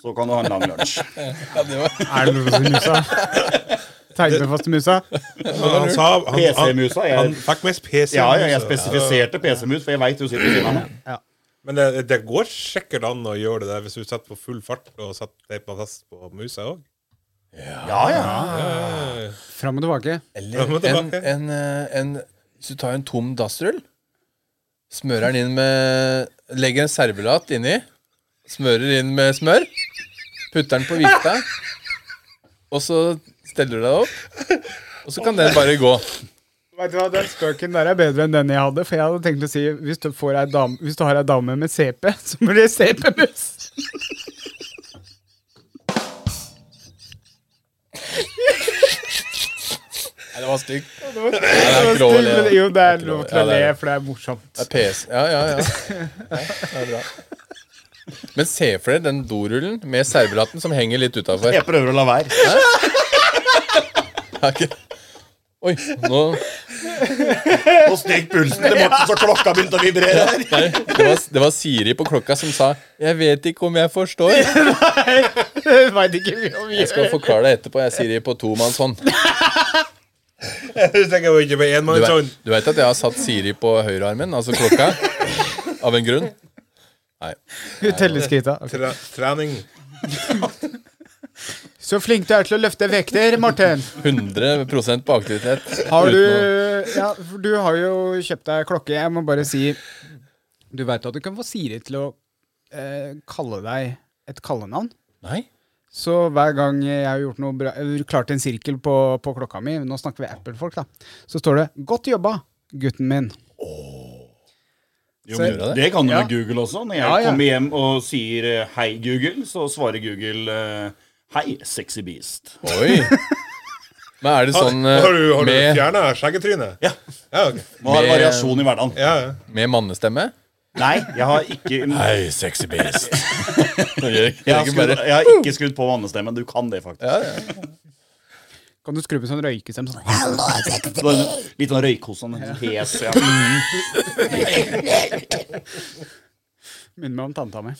så kan du ha en lang lunsj.
Ja, det var
Er det lov til å si musa? Tegne fast musa?
Han sa han, han,
PC-musa er
han fikk mest PC.
Ja, ja, jeg
så-
spesifiserte PC-mus, for jeg veit du sitter ved siden av meg.
Men det, det går sikkert an å gjøre det der hvis du setter på full fart og setter teipa fast på musa òg. (laughs)
Ja, ja.
Fram og tilbake.
Ja, men
Eller en,
tilbake.
en, eh, en Hvis du tar en tom dassrull, smører den inn med Legger en servelat inni, smører inn med smør, putter den på vifta, og så steller du deg opp, og så kan den bare gå.
Vet du hva, Den spøken der er bedre enn den jeg hadde. For jeg hadde tenkt å si hvis du, får ei dame, hvis du har ei dame med CP, (laughs) så blir det CP-buss.
Nei, det var stygt.
Det
er
var
ikke lov å
stille,
le,
men
da.
det- Jo, det
Det er
er
ikke
lov
lov.
til
Ja,
å le,
det er det.
for det er morsomt. (laughs)
Det er PS. Ja, ja, ja. Nei, det er bra. Men se for dere den dorullen med servelaten som henger litt utafor. (laughs)
Jeg prøver å la være.
Oi, nå
Nå steg pulsen til Morten, så klokka begynte å vibrere. her.
Nei, det var, det var Siri på klokka som sa 'Jeg vet ikke om jeg forstår'.
Jeg vet ikke om vi
Jeg skal forklare deg etterpå. Jeg er Siri på tomannshånd.
Du tenker jo ikke på
Du,
enmannshånd.
vet- du veit at jeg har satt Siri på høyrearmen, altså klokka, av en grunn? Nei.
Du teller skrita. Ok.
Tre, trening.
Så flink du er til å løfte vekter, Morten.
100 på aktivitet.
Har du
Uten å-
Ja, for du har jo kjøpt deg klokke. Jeg må bare si Du veit at du kan få Siri til å eh, kalle deg et kallenavn?
Nei?
Så hver gang jeg har gjort noe bra, eller klart en sirkel på, på klokka mi, nå snakker vi Apple-folk, da, så står det 'Godt jobba, gutten min'.
Jo,
Så-
men
Gjør det?
det kan du
Ja.
med Google også. Når jeg
Ja, ja.
kommer hjem og sier eh, 'hei, Google', så svarer Google eh, 'hei, sexy beast'.
Oi! Men er det sånn eh,
Har du, har du
med,
fjerna skjeggetrynet?
Ja,
Ja, ok.
Må ha
Med-
variasjon i hverdagen.
ja, ja.
med mannestemme?
Nei, jeg har ikke
Hei, sexy beast. jeg,
jeg har, skrudd, jeg har ikke skrudd på vannestemmen. Du kan det, faktisk.
ja, ja.
Kan du skru på sånn røykestem? Sånn.
Det var en Litt sånn røykos sånn hes. Ja.
Minner meg om tanta mi.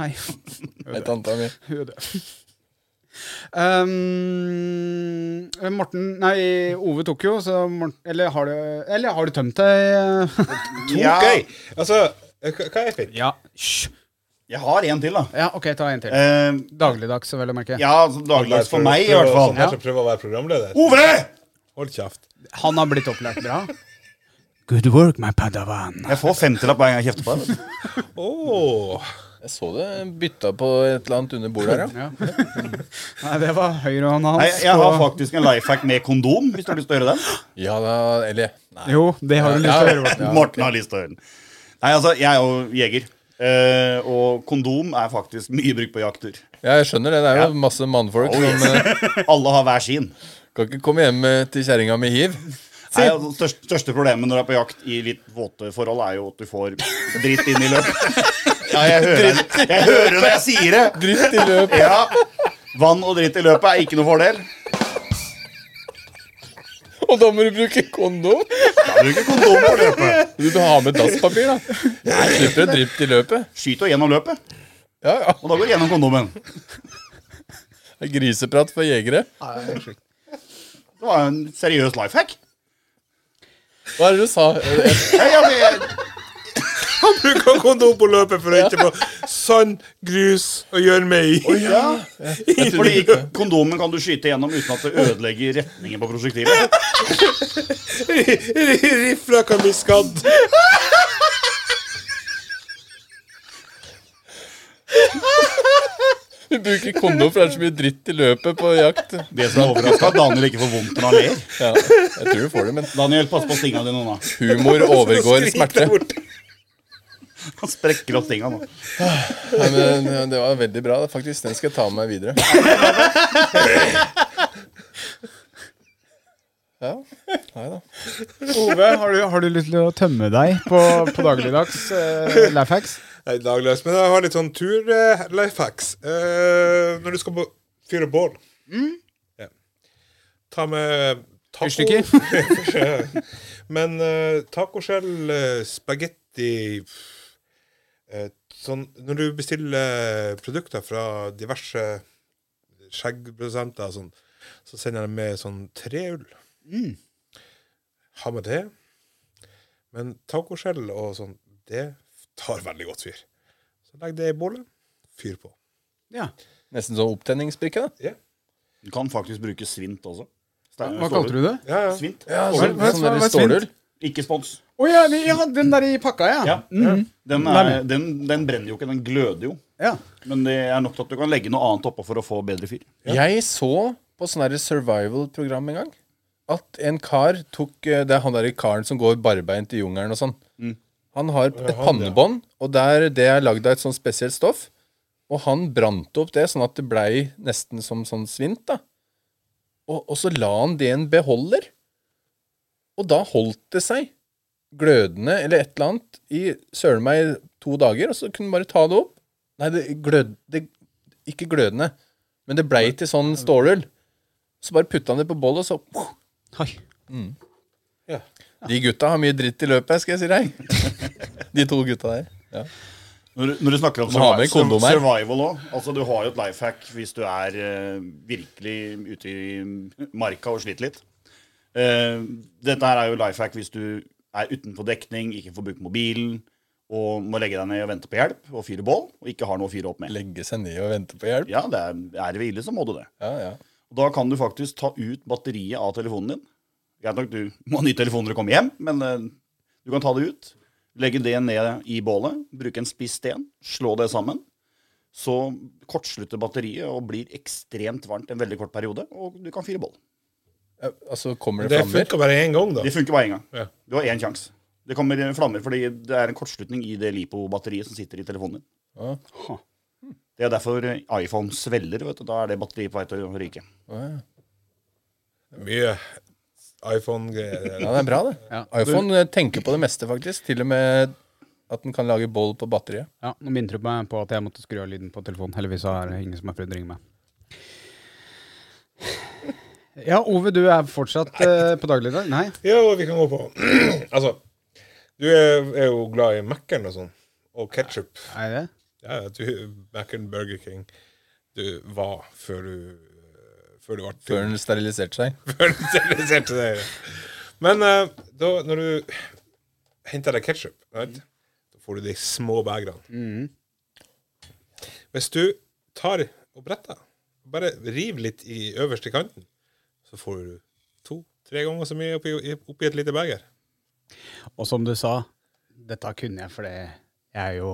Hei.
Hei, tanta mi.
Hun er død. Um, Morten Nei, Ove tok jo, så Morten, eller, har du, eller har du tømt deg? (laughs)
Ja,
Ok, altså eh, hva- Hva er fint?
ja. Hysj.
jeg har en til, da.
Ja, OK, ta en til.
Eh,
Dagligdags, vel å merke.
ja, altså, dagligdags for meg, i hvert fall.
Sånn, jeg skal prøve å være programleder.
Ove!
Hold kjeft.
Han har blitt opplært bra. Good work, my padawan.
Jeg får femtilapp hver gang jeg kjefter på deg. vet du.
Åh (laughs)
Jeg så det bytta på et eller annet under bordet her, ja.
Ja. (laughs) Nei, det var høyrehånda hans.
Nei, jeg har
på-
faktisk en life hack med kondom, hvis du har lyst til å høre den.
Ja da, eller Nei.
Jo, det har du lyst til å
(laughs)
høre.
Ja,
Morten har lyst til å høre den. Nei, altså, jeg er jo jeger. eh, og kondom er faktisk mye brukt på jakttur.
Ja, jeg skjønner det. Det er jo masse mannfolk som eh,
Alle har hver sin.
kan ikke komme hjem eh, til kjerringa med hiv.
Nei, altså, største, største problemet når du er på jakt i litt våte forhold, er jo at du får dritt inn i løpet. Ja, jeg hører, det. jeg hører det jeg sier det!
Dritt i løp.
Ja. Vann og dritt i løpet er ikke noe fordel.
Og da må du bruke kondom!
Da bruker kondom på løpet.
Du bør ha med dasspapir, da. Du slipper et dritt i løpet.
Skyt jo gjennom løpet,
Ja, ja.
og da går det gjennom kondomen.
Det er Griseprat for jegere.
Det var en seriøs life hack.
Hva er det du sa? Eh,
Ja, ja, men jeg-
Han bruker kondom på løpet for å ikke
(laughs)
få sand, grus og gjørme i.
ja.
Jeg trodde
Fordi
ikke-
kondomen kan du skyte gjennom uten at det ødelegger retningen på prosjektilet.
Rifla kan bli skadd.
Du bruker kondom, for det er så mye dritt i løpet på jakt.
Det som er overraska, at Daniel ikke får vondt når han ler.
Ja, jeg tror du får det, men
Daniel, pass på stinga dine nå.
humor overgår smerte.
Han sprekker opp stinga nå.
Nei, men det- Det var veldig bra, faktisk. Den skal jeg ta med meg videre. Ja. Nei da.
Ove, har du, har du lyst til å tømme deg på, på dagligdags uh, life hacks?
Nei, dagløs, men jeg har litt sånn tur-lifehacks. Eh, når du skal på- fyre bål ja. Ta med taco (laughs) Men eh, tacoskjell, eh, spagetti eh, Sånn Når du bestiller eh, produkter fra diverse skjeggprodusenter, og sånn, så sender de med sånn treull. Ha med det. Men tacoskjell og sånn, det tar veldig godt fyr. Så legg det i bålet. Fyr på.
Ja.
Nesten sånn opptenningsbrikke, da.
Ja,
Du kan faktisk bruke svint også.
Hva kalte du det?
ja. ja.
Svint.
Sånn,
hva-
sånn
hva-
der
hva er
stålull.
Ikke spons.
Å ja, vi- ja, den der i pakka, ja.
Ja. Den, er, den, den brenner jo ikke, den gløder jo.
Ja.
Men det er nok til at du kan legge noe annet oppå for å få bedre fyr.
Jeg så på sånn her survival-program en gang at en kar tok eh, Det er han der karen som går barbeint i jungelen og sånn. Han har et pannebånd, og der, det er lagd av et sånn spesielt stoff. Og han brant opp det, sånn at det blei nesten som sånn svint. da. Og, og så la han det i en beholder. Og da holdt det seg glødende eller et eller annet i søren meg to dager, og så kunne han bare ta det opp. Nei, det glød... Det, ikke glødende, men det blei til sånn stålull. Så bare putta han det på bollet, og så
Oi.
De gutta har mye dritt i løpet, skal jeg si deg. (laughs) De to gutta der. Ja.
Når, du- når du snakker om
Må ha med
survival,
kondom her.
survival òg altså, Du har jo et life hack hvis du er eh, virkelig ute i marka og sliter litt. Eh, dette her er jo life hack hvis du er utenfor dekning, ikke får brukt mobilen, og må legge deg ned og vente på hjelp og fyre bål, og ikke har noe å fyre opp med.
Legge seg ned og vente på hjelp.
Ja, det er, er det ille, så må du det.
Ja, ja.
Og da kan du faktisk ta ut batteriet av telefonen din. Greit nok, du må ha ny telefon når du kommer hjem, men eh, du kan ta det ut. Legge det ned i bålet, bruke en spiss sten, slå det sammen. Så kortslutter batteriet og blir ekstremt varmt en veldig kort periode, og du kan fyre bål.
Ja, Altså, kommer det
Det
flammer?
funka bare én gang, da.
Det funker bare én gang.
Ja.
Du har én sjanse. Det kommer flammer fordi det er en kortslutning i det lipo-batteriet som sitter i telefonen din.
Ja.
Ha. Det er derfor iPhone svelger. Vet du. Da er det batteriet på vei til å ryke.
Å, ja.
Mye iPhone-greier.
Ja, det er bra, det.
Ja.
iPhone eh, tenker på det meste, faktisk. Til og med at den kan lage boll på batteriet.
Ja, nå minnet du meg på at jeg måtte skru av lyden på telefonen. Heldigvis så er det ingen som har prøvd å ringe meg. Ja, Ove, du er fortsatt eh, på daglig dag? Nei?
Jo, vi kan gå på (clears throat) Altså, du er, er jo glad i Mækkern og sånn. Og ketsjup.
Er det?
Ja, ja, du, Mækkern Burger King du var før du Før du ble
Før den steriliserte seg.
Før du steriliserte deg. Men eh, da, når du henter deg ketsjup, da får du de små begrene. Hvis du tar og bretter, bare riv litt i øverste kanten, så får du to-tre ganger så mye oppi, oppi et lite beger.
Og som du sa, dette kunne jeg fordi jeg er jo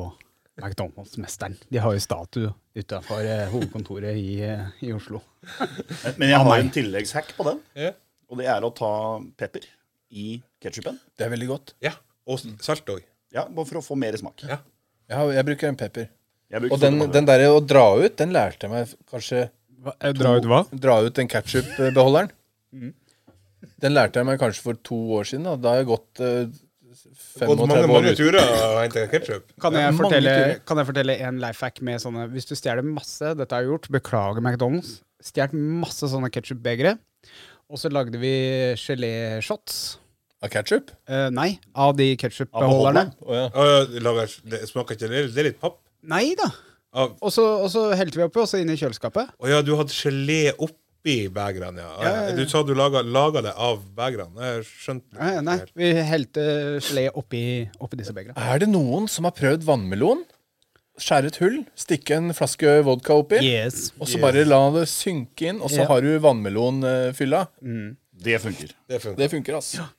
McDonald's-mesteren. De har jo statue utafor hovedkontoret i, eh, i Oslo.
Men- Men jeg har en tilleggshack på den,
Ja.
og det er å ta pepper i ketsjupen.
Det er veldig godt.
ja. Og salt òg.
Ja, bare for å få mer smak.
Ja.
Jeg, har, jeg bruker en pepper.
Jeg bruker
Og den,
sånn-
den derre å dra ut, den lærte jeg meg f- kanskje
Dra ut hva?
Dra ut den ketsjupbeholderen.
Mm.
Den lærte jeg meg kanskje for to år siden. Da, da har jeg gått eh,
Og
35
mange,
år
mange
uten.
turer å hente ketsjup.
Kan
Ja,
jeg,
mange
fortelle,
turer.
kan jeg fortelle en life hack med sånne Hvis du stjeler masse Dette har jeg gjort, beklager McDonald's. Stjålet masse sånne ketsjupbegre. Og så lagde vi geléshots.
Av ketsjup?
Eh, nei, av de ketsjupbeholderne.
beholderen?
Å ja.
Og lager, det smaker ikke det, det er litt papp.
Nei da!
Av,
Og så, og så helte vi oppi, og så inn i kjøleskapet.
Å ja, du hadde gelé oppi begrene, ja. ja, Du sa du laga, laga det av begrene. Jeg skjønte det
Eh,
ikke
nei,
helt.
vi helte gelé oppi, oppi disse begra.
Er det noen som har prøvd vannmelon? Skjære et hull, stikke en flaske vodka oppi,
Yes.
og så bare la det synke inn, og så
Ja.
har du vannmelonfylla.
Mm.
Det funker.
Det funker.
Det funker, altså.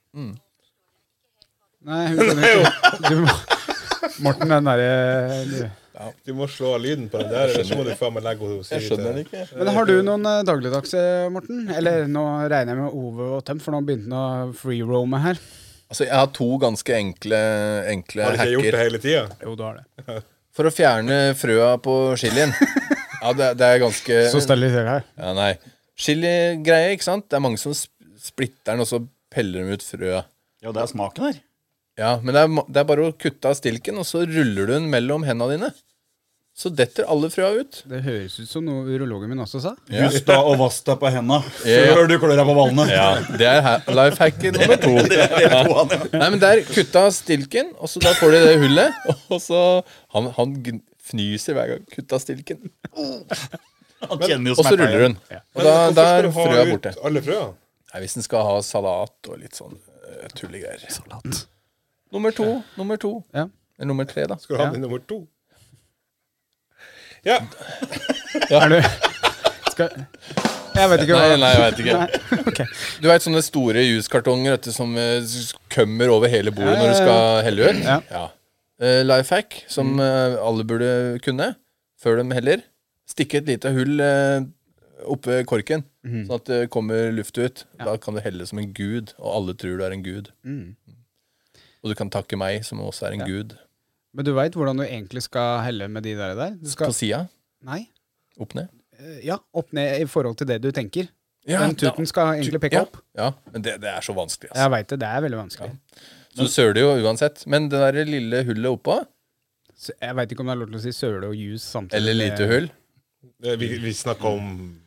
Nei, hun skjønner ikke. Du må Morten, den derre du.
Du må slå av lyden på den der, eller så må du faen meg legge henne
Jeg skjønner den ikke.
Men har du noen eh, dagligdags, eh, Morten? Eller nå regner jeg med Ove og Tømt, for nå begynte han å freerome her.
Altså, jeg har to ganske enkle, enkle
Har du ikke gjort det
hacker.
hele tida?
Jo, du har det.
For å fjerne frøa på chilien. Ja, det, det er ganske
Så steriliserer jeg.
Ja, nei. Chiligreie, ikke sant? Det er mange som sp- splitter den, og så peller de ut frøa.
Ja, det er smaken her.
Ja, men det er, ma- det er bare å kutte av stilken, og så ruller du den mellom hendene dine. Så detter alle frøa ut.
Det høres ut som noe urologen min også sa.
Husk da å vaske deg på henda
Ja.
før du klør deg på ballene. (laughs)
Det er life hacken nummer
(laughs)
to. Nei, men der kutta av stilken, og så da får du det hullet, og så Han, han gn- fnyser hver gang. Kutta av stilken.
Han kjenner jo
Og så
smerten.
ruller hun. Og
Men
da,
hvorfor
da
skal
er
du ha
frøa
ut
borte.
Alle frøa?
Nei, hvis en skal ha salat og litt sånn eh, tullegreier. Salat. Nummer to. Nummer to.
Ja.
Eller nummer tre, da.
Skal du ha den i nummer to? Ja.
Er du Skal Jeg vet ikke
Nei,
hva
nei, jeg vet ikke.
Nei, ok.
Du veit sånne store juskartonger vet du, som eh, s- kommer over hele bordet når du skal helle ut?
Ja. Mm.
Life hack, som eh, alle burde kunne før de heller. Stikke et lite hull eh, oppe ved korken,
Mhm.
sånn at det kommer luft ut. Da kan du helle som en gud, og alle tror du er en gud.
Mm.
Og du kan takke meg, som også er en gud,
Men du veit hvordan du egentlig skal helle med de der? der? Du
på
skal
sida.
Nei.
Opp ned.
eh, Ja, opp ned i forhold til det du tenker.
Ja,
Den tuten skal egentlig peke
ja,
opp.
ja, men det, det er så vanskelig. Altså.
Jeg veit det. Det er veldig vanskelig.
Så du søler jo uansett. Men det der lille hullet oppå,
Så Jeg veit ikke om det er lov til å si søle og juice samtidig.
eller lite hull
Det- Eh, Vi, vi snakker om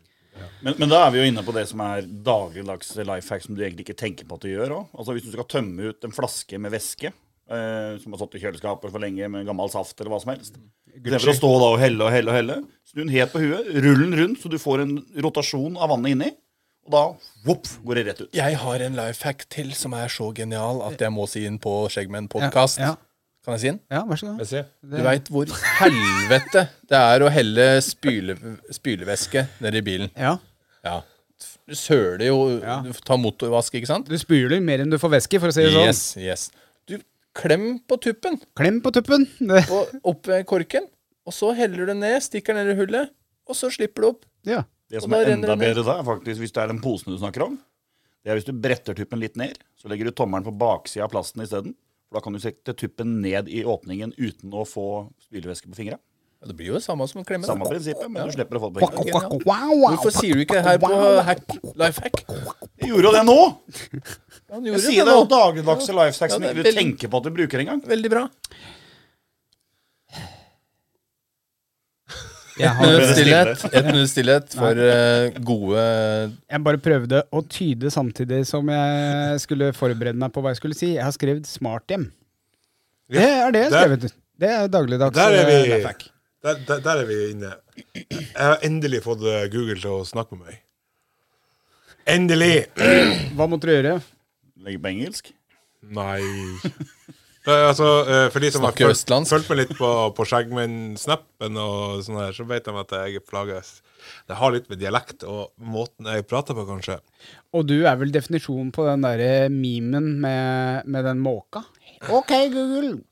Men, men da er vi jo inne på det som er dagligdags life hack som du egentlig ikke tenker på at du gjør òg. Altså hvis du skal tømme ut en flaske med væske eh, som har stått i kjøleskapet for lenge med gammel saft eller hva som helst Istedenfor å stå da og helle og helle og helle, snu den helt på huet, rull den rundt så du får en rotasjon av vannet inni, og da vopp, går det rett ut.
Jeg har en life hack til som er så genial at jeg må si inn på Skjeggmenn-podkast.
Ja, ja.
Kan jeg si den?
Ja, vær så god.
Jeg ser.
Du veit hvor (laughs) helvete det er å helle spyle, spylevæske nedi bilen.
Ja.
Ja. Du søler jo
Ja.
Du tar motorvask, ikke sant?
Du spyler mer enn du får væske, for å si det sånn.
Yes, yes. Du klem på tuppen
Klem på tuppen. Det-
på, opp ved korken, og så heller du ned, stikker ned i hullet, og så slipper du opp.
Ja.
Det som
Og da
er
renner
enda
det ned.
bedre da, er faktisk, hvis det er den posen du snakker om, det er hvis du bretter tuppen litt ned, så legger du tommelen på baksida av plasten isteden. For da kan du sette tuppen ned i åpningen uten å få spylevæske på fingra.
Ja, det blir jo det samme som å klemme.
Samme
da.
prinsippet, men du slipper å få det på fingra.
Hvorfor
Hvorfor
sier du ikke det her på hack, Lifehack?
Jeg gjorde jo det nå!
Han
Jeg
gjorde
sier
det
det er jo
nå.
dagligdagse lifehacks
Ja,
som
det er
ikke du
veldig-
tenker på at du bruker engang.
Veldig bra.
Jeg,
Et
har,
minutts stillhet, et minutts stillhet for eh, gode
jeg bare prøvde å tyde samtidig som jeg skulle forberede meg på hva jeg skulle si. Jeg har skrevet 'smarthjem'. Det er det jeg har
Der-
skrevet. Det er dagligdags.
Der er
eh,
vi.
lifehack.
Der, der, der er vi inne. Jeg har endelig fått eh, Google til å snakke med meg. Endelig!
Hva måtte du gjøre?
Legger på engelsk.
Nei Nei, altså, eh, For de som har
Snakker
fulgt,
østlandsk.
fulgt meg litt på, på Skjeggmenn-snappen, og sånn her, så vet de at jeg plages. Det har litt med dialekt og måten jeg prater på, kanskje.
Og du er vel definisjonen på den derre memen med, med den måka? OK, Google.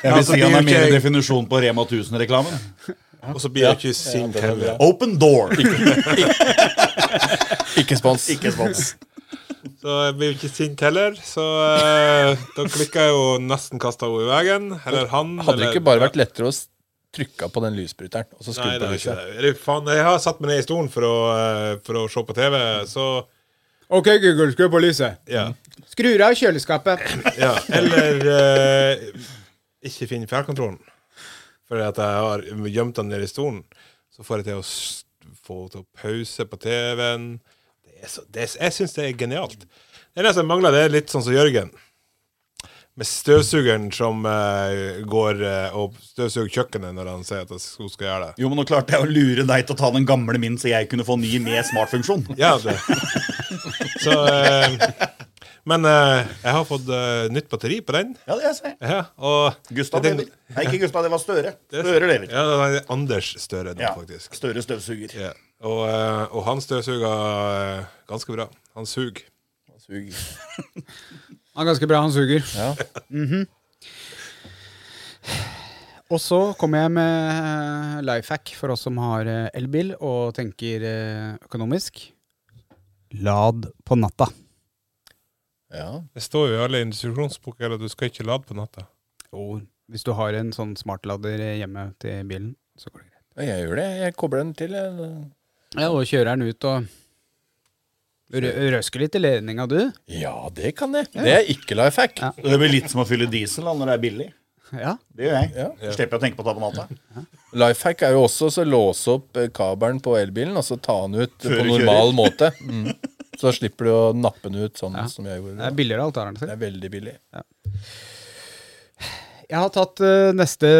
Jeg
vil si han er mer
definisjon på Rema 1000-reklamen.
Og så blir jeg ikke sint heller.
Open door!
Ikke spons.
(laughs) Ikke spons.
Så jeg blir ikke sint heller, så eh, da klikker jeg jo nesten kasta henne i veggen. Eller han.
Hadde det
eller,
ikke bare vært lettere å s- trykke på den lysbryteren og så skru
Nei, det
på
er ikke
lyset?
det. Er det. Faen, jeg har satt meg ned i stolen for å, eh, for å se på TV, så
OK, Google, skru på lyset.
ja.
Skrur av kjøleskapet.
ja. Eller eh, ikke finne fjernkontrollen. Fordi at jeg har gjemt den ned i stolen. Så får jeg til å s- få til å pause på TV-en. Det er så, det er, jeg syns det er genialt. Det eneste jeg mangler, det er litt sånn som Jørgen. Med støvsugeren som eh, går eh, og støvsuger kjøkkenet når han sier at hun skal gjøre det.
Jo, men nå klarte jeg å lure deg til å ta den gamle min, så jeg kunne få ny med smartfunksjon.
Ja, det. Så eh, Men eh, jeg har fått eh, nytt batteri på den.
Ja, det ser jeg.
Ja, og
Gustav
den-
lever. Nei, ikke Gustav, det var Støre. Støre lever.
Ja, det er Anders Støre nå,
Ja.
faktisk.
Støre støvsuger.
Ja. Og, eh, og han støvsuger eh, ganske bra. Han suger.
Sug.
Han er ganske bra, han suger.
Ja.
Mhm. Og så kommer jeg med eh, life hack for oss som har eh, elbil og tenker eh, økonomisk. Lad på natta.
Ja.
Det står jo i alle instruksjonsbøker at du skal ikke lade på natta.
Jo, hvis du har en sånn smartlader hjemme til bilen, så går det greit.
Ja, Jeg gjør det. Jeg kobler den til. eh, jeg.
Ja, Og kjører den ut og rø røsker litt i ledninga, du.
Ja, det kan jeg. Det er ikke life hack.
Ja.
Det blir litt som å fylle diesel da, når det er billig.
Ja.
Det gjør jeg.
Ja.
Så Slipper jeg å tenke på å ta på natta.
Life hack er jo også å låse opp eh, kabelen på elbilen og så ta den ut
Før
på
du
normal måte.
(laughs)
Mm. Så slipper du å nappe den ut sånn
Ja.
som jeg
Det er
gjorde.
billigere alternativer.
Det er veldig billig.
Jeg har tatt eh, neste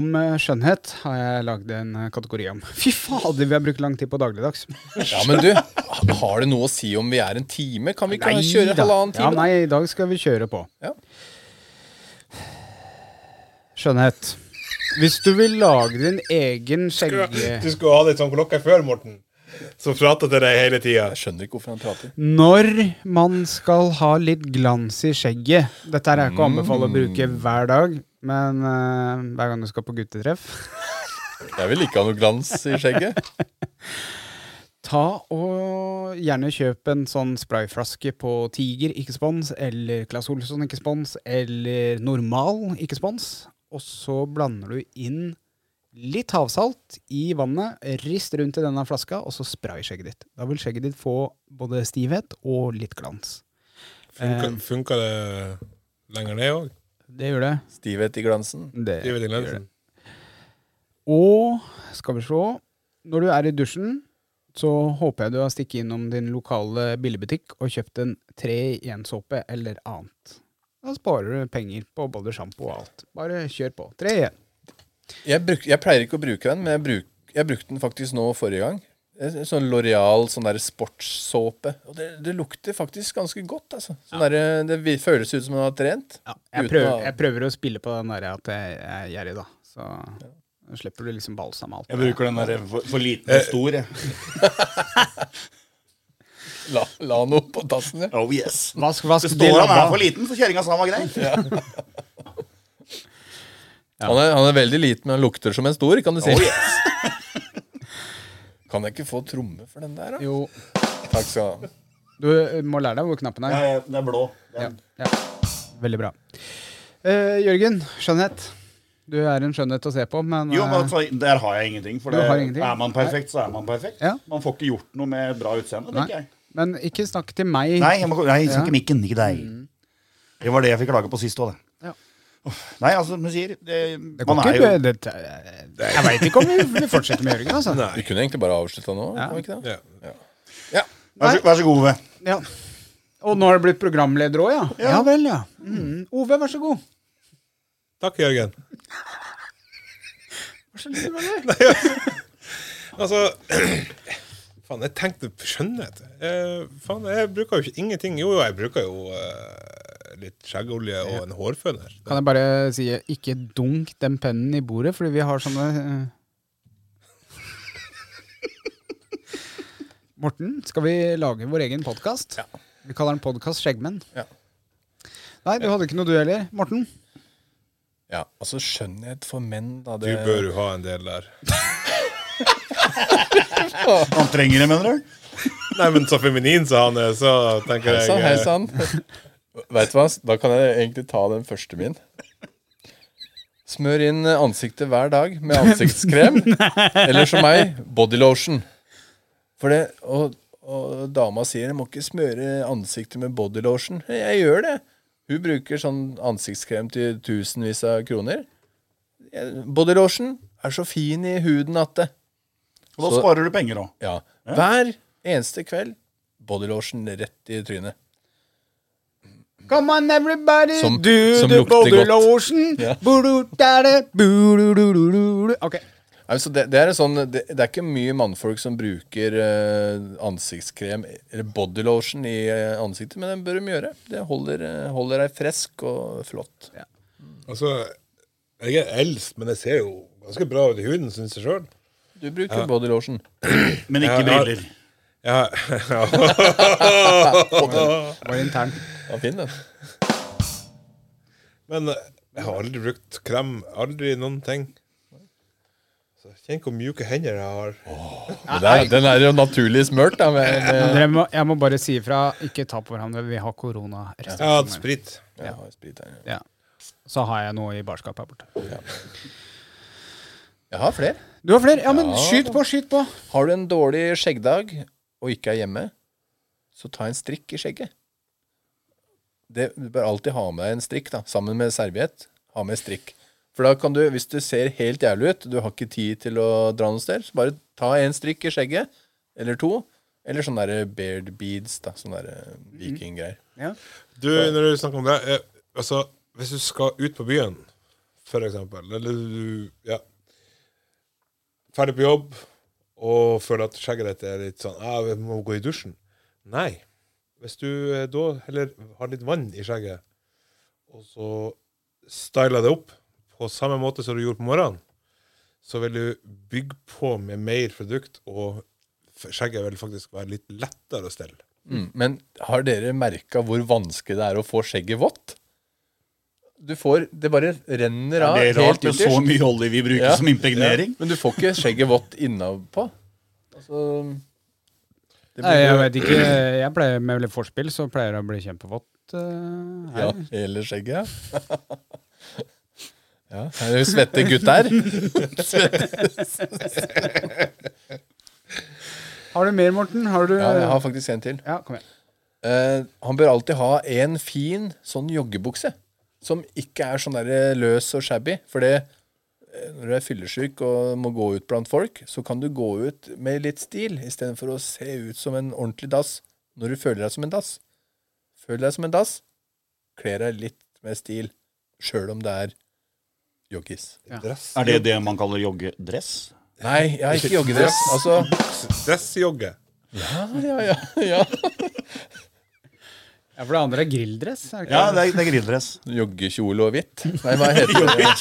om eh, skjønnhet. Har jeg lagd en eh, kategori om. (laughs) Fy fader, vi har brukt lang tid på dagligdags.
Ja, Men du, har det noe å si om vi er en time? Kan vi ikke kjøre
da.
halvannen
Ja,
time?
nei, i dag skal vi kjøre på.
Ja.
Skjønnhet. Hvis du vil lage din egen skjegge...
Du skulle ha det sånn klokka før, Morten. Som prater til deg hele tida.
Jeg skjønner ikke hvorfor han prater.
Når man skal ha litt glans i skjegget Dette her er ikke å anbefale å bruke
Mm.
hver dag, men eh, hver gang du skal på guttetreff
Jeg vil ikke ha noe glans i skjegget.
Ta og gjerne kjøp en sånn sprayflaske på Tiger, ikke spons, eller Claes Olsson, ikke spons, eller Normal, ikke spons. Og så blander du inn litt havsalt i vannet, rist rundt i denne flaska, og så spray skjegget ditt. Da vil skjegget ditt få både stivhet og litt glans.
Funka,
Eh,
funka det lenger ned òg?
det gjør det.
Stivhet i glansen.
det.
Ja,
Og skal vi se Når du er i dusjen, så håper jeg du har stikket innom din lokale billigbutikk og kjøpt en tre i en såpe eller annet. Da sparer du penger på både sjampo og alt. Bare kjør på. Tre i en.
Jeg, bruk, jeg pleier ikke å bruke den, men jeg, bruk, jeg brukte den faktisk nå forrige gang. en sånn Loreal sånn der sportssåpe. Og det, det lukter faktisk ganske godt. altså. Sånn der, det vi- føles ut som man har trent.
Ja, jeg,
Uten
prøver,
å-
jeg prøver å spille på den derre at jeg er gjerrig, da. Så da slipper du liksom balsam og alt.
Jeg bruker den der for, for liten
Eh,
og stor, jeg.
La, la noe på dassen, ja.
Oh yes.
Vask, vask
Det
de
står han
labba.
er for liten, så kjerringa sa han var grei.
Han, er, han er veldig liten, men han lukter som en stor, kan du si.
Oh yes.
(laughs) Kan jeg ikke få tromme for den der, da?
Jo,
Takk skal du ha.
du må lære deg hvor knappen
Ja,
er.
ja, Den er blå.
Ja,
Den.
ja. Veldig bra. Eh, Jørgen, skjønnhet. Du er en skjønnhet å se på, men
Jo, men
eh,
altså, der har jeg ingenting. For
Du
det,
har ingenting?
er man perfekt, så er man perfekt.
Ja.
Man får ikke gjort noe med bra utseende,
Nei.
tenker jeg.
Men ikke snakk til meg.
Nei, jeg må, nei, jeg
Ja.
snakker mikken, ikke deg. Det var det jeg fikk klage på sist òg, det.
Ja.
Uff, Nei, altså, som du sier det,
det
Man
går
er
ikke.
jo
Det, det, jeg veit ikke om vi, vi fortsetter med Jørgen, altså.
Vi kunne egentlig bare avslutta nå.
Ja.
Kan vi ikke det?
Ja.
Vær så, vær så god, Ove.
Ja. Og nå har du blitt programleder òg, ja. ja? vel, ja. Mm. Ove, vær så god.
Takk, Jørgen.
Vær så snill, vær så god.
Altså (clears throat) Faen, jeg tenkte på skjønnhet. Eh, faen, jeg bruker jo ikke ingenting. Jo, jo, jeg bruker jo eh, litt skjeggolje og en hårføner.
Kan jeg bare si ikke dunk den pennen i bordet, fordi vi har sånne eh. Morten, skal vi lage vår egen podkast? Vi kaller den Podkast Skjeggmenn.
Ja.
Nei, du hadde ikke noe du heller. Morten?
Ja, altså skjønnhet for menn, da.
Du
Det,
bør jo ha en del der.
Han trenger det, mener du?
Nei, men så feminin som han er, så tenker
Hei
jeg
sann,
eh,
hei sann. Veit du hva, da kan jeg egentlig ta den første min. Smør inn ansiktet hver dag med (laughs) ansiktskrem. Eller som meg, bodylotion. For det, og, og dama sier jeg må ikke smøre ansiktet med bodylotion. Jeg gjør det. Hun bruker sånn ansiktskrem til tusenvis av kroner. Jeg- Bodylotion er så fin i huden at det
Og da
Så-
sparer du penger òg.
Ja. Hver eneste kveld bodylotion rett i trynet.
Come on everybody,
Som-
do
som
the
lukter
body
godt.
lotion.
(laughs) Ja.
Buru-dare, buru-ru-ru-ru-ru. Ok,
Nei, så det, det, er en sånn, det, det er ikke mye mannfolk som bruker eh, ansiktskrem eller bodylotion i eh, ansiktet, men det bør de gjøre. Det holder, eh, holder deg frisk og flott.
Altså, jeg er eldst, men jeg ser jo ganske bra ut i huden, syns jeg sjøl.
Du bruker bodylotion.
Men ikke
Ja, ja.
briller.
Ja, (laughs)
det var intern.
Ja, fin den.
men eh, jeg har aldri brukt krem. Aldri noen ting. Så Kjenn hvor mjuke hender jeg har.
Men det er, den er jo naturlig smørt. Da, med, med,
Dere må, jeg må bare si ifra, ikke ta på hverandre, vi har korona. resten.
Jeg har hatt sprit.
ja, sprit her, ja.
Ja. Så har jeg noe i barskapet her borte.
Jeg har flere.
Du har flere? Ja, men skyt på, skyt på.
Har du en dårlig skjeggdag og ikke er hjemme, så ta en strikk i skjegget. Det, du bør alltid ha med deg en strikk, da, sammen med serviett. Ha med strikk. For da kan du, hvis du ser helt jævlig ut, du har ikke tid til å dra noe sted, så bare ta en strikk i skjegget, eller to, eller sånne der beard beads, da, sånne der eh,
Mhm.
vikinggreier.
Du, når du snakker om det eh, Altså, hvis du skal ut på byen, for eksempel, eller du Ja. Ferdig på jobb og føler at skjegget ditt er litt sånn ah, Jeg må gå i dusjen. Nei. Hvis du eh, da heller har litt vann i skjegget, og så styler det opp på samme måte som du gjorde på morgenen, så vil du bygge på med mer produkt, og f- skjegget vil faktisk være litt lettere å stelle.
Mm. Men har dere merka hvor vanskelig det er å få skjegget vått? Du får, Det bare renner av
det er rart
helt
med så
ytterst.
mye olje vi bruker som impregnering.
Ja, Men du får ikke skjegget vått innapå. Altså det
Nei, jeg
blir,
vet ikke. Jeg pleier med litt forspill, så pleier det å bli kjempevått. eh, her.
ja, hele skjegget, ja. (laughs) ja. Er det svette gutt her? (laughs)
Har du mer, Morten? Har du
Ja, jeg har faktisk en til.
Ja, kom igjen.
Eh, han bør alltid ha en fin sånn joggebukse. Som ikke er sånn der løs og shabby. For det, eh, når du er fyllesyk og må gå ut blant folk, så kan du gå ut med litt stil istedenfor å se ut som en ordentlig dass når du føler deg som en dass. Føl deg som en dass, kle deg litt med stil, sjøl om det er joggis.
Er det det man kaller joggedress?
Nei, jeg har ikke joggedress. Altså
Stressjogge.
Ja, ja, ja.
Ja, For det andre er grilldress? Er det ikke?
Ja, det er, det er grilldress.
Joggekjole og hvitt. Nei, hva heter det?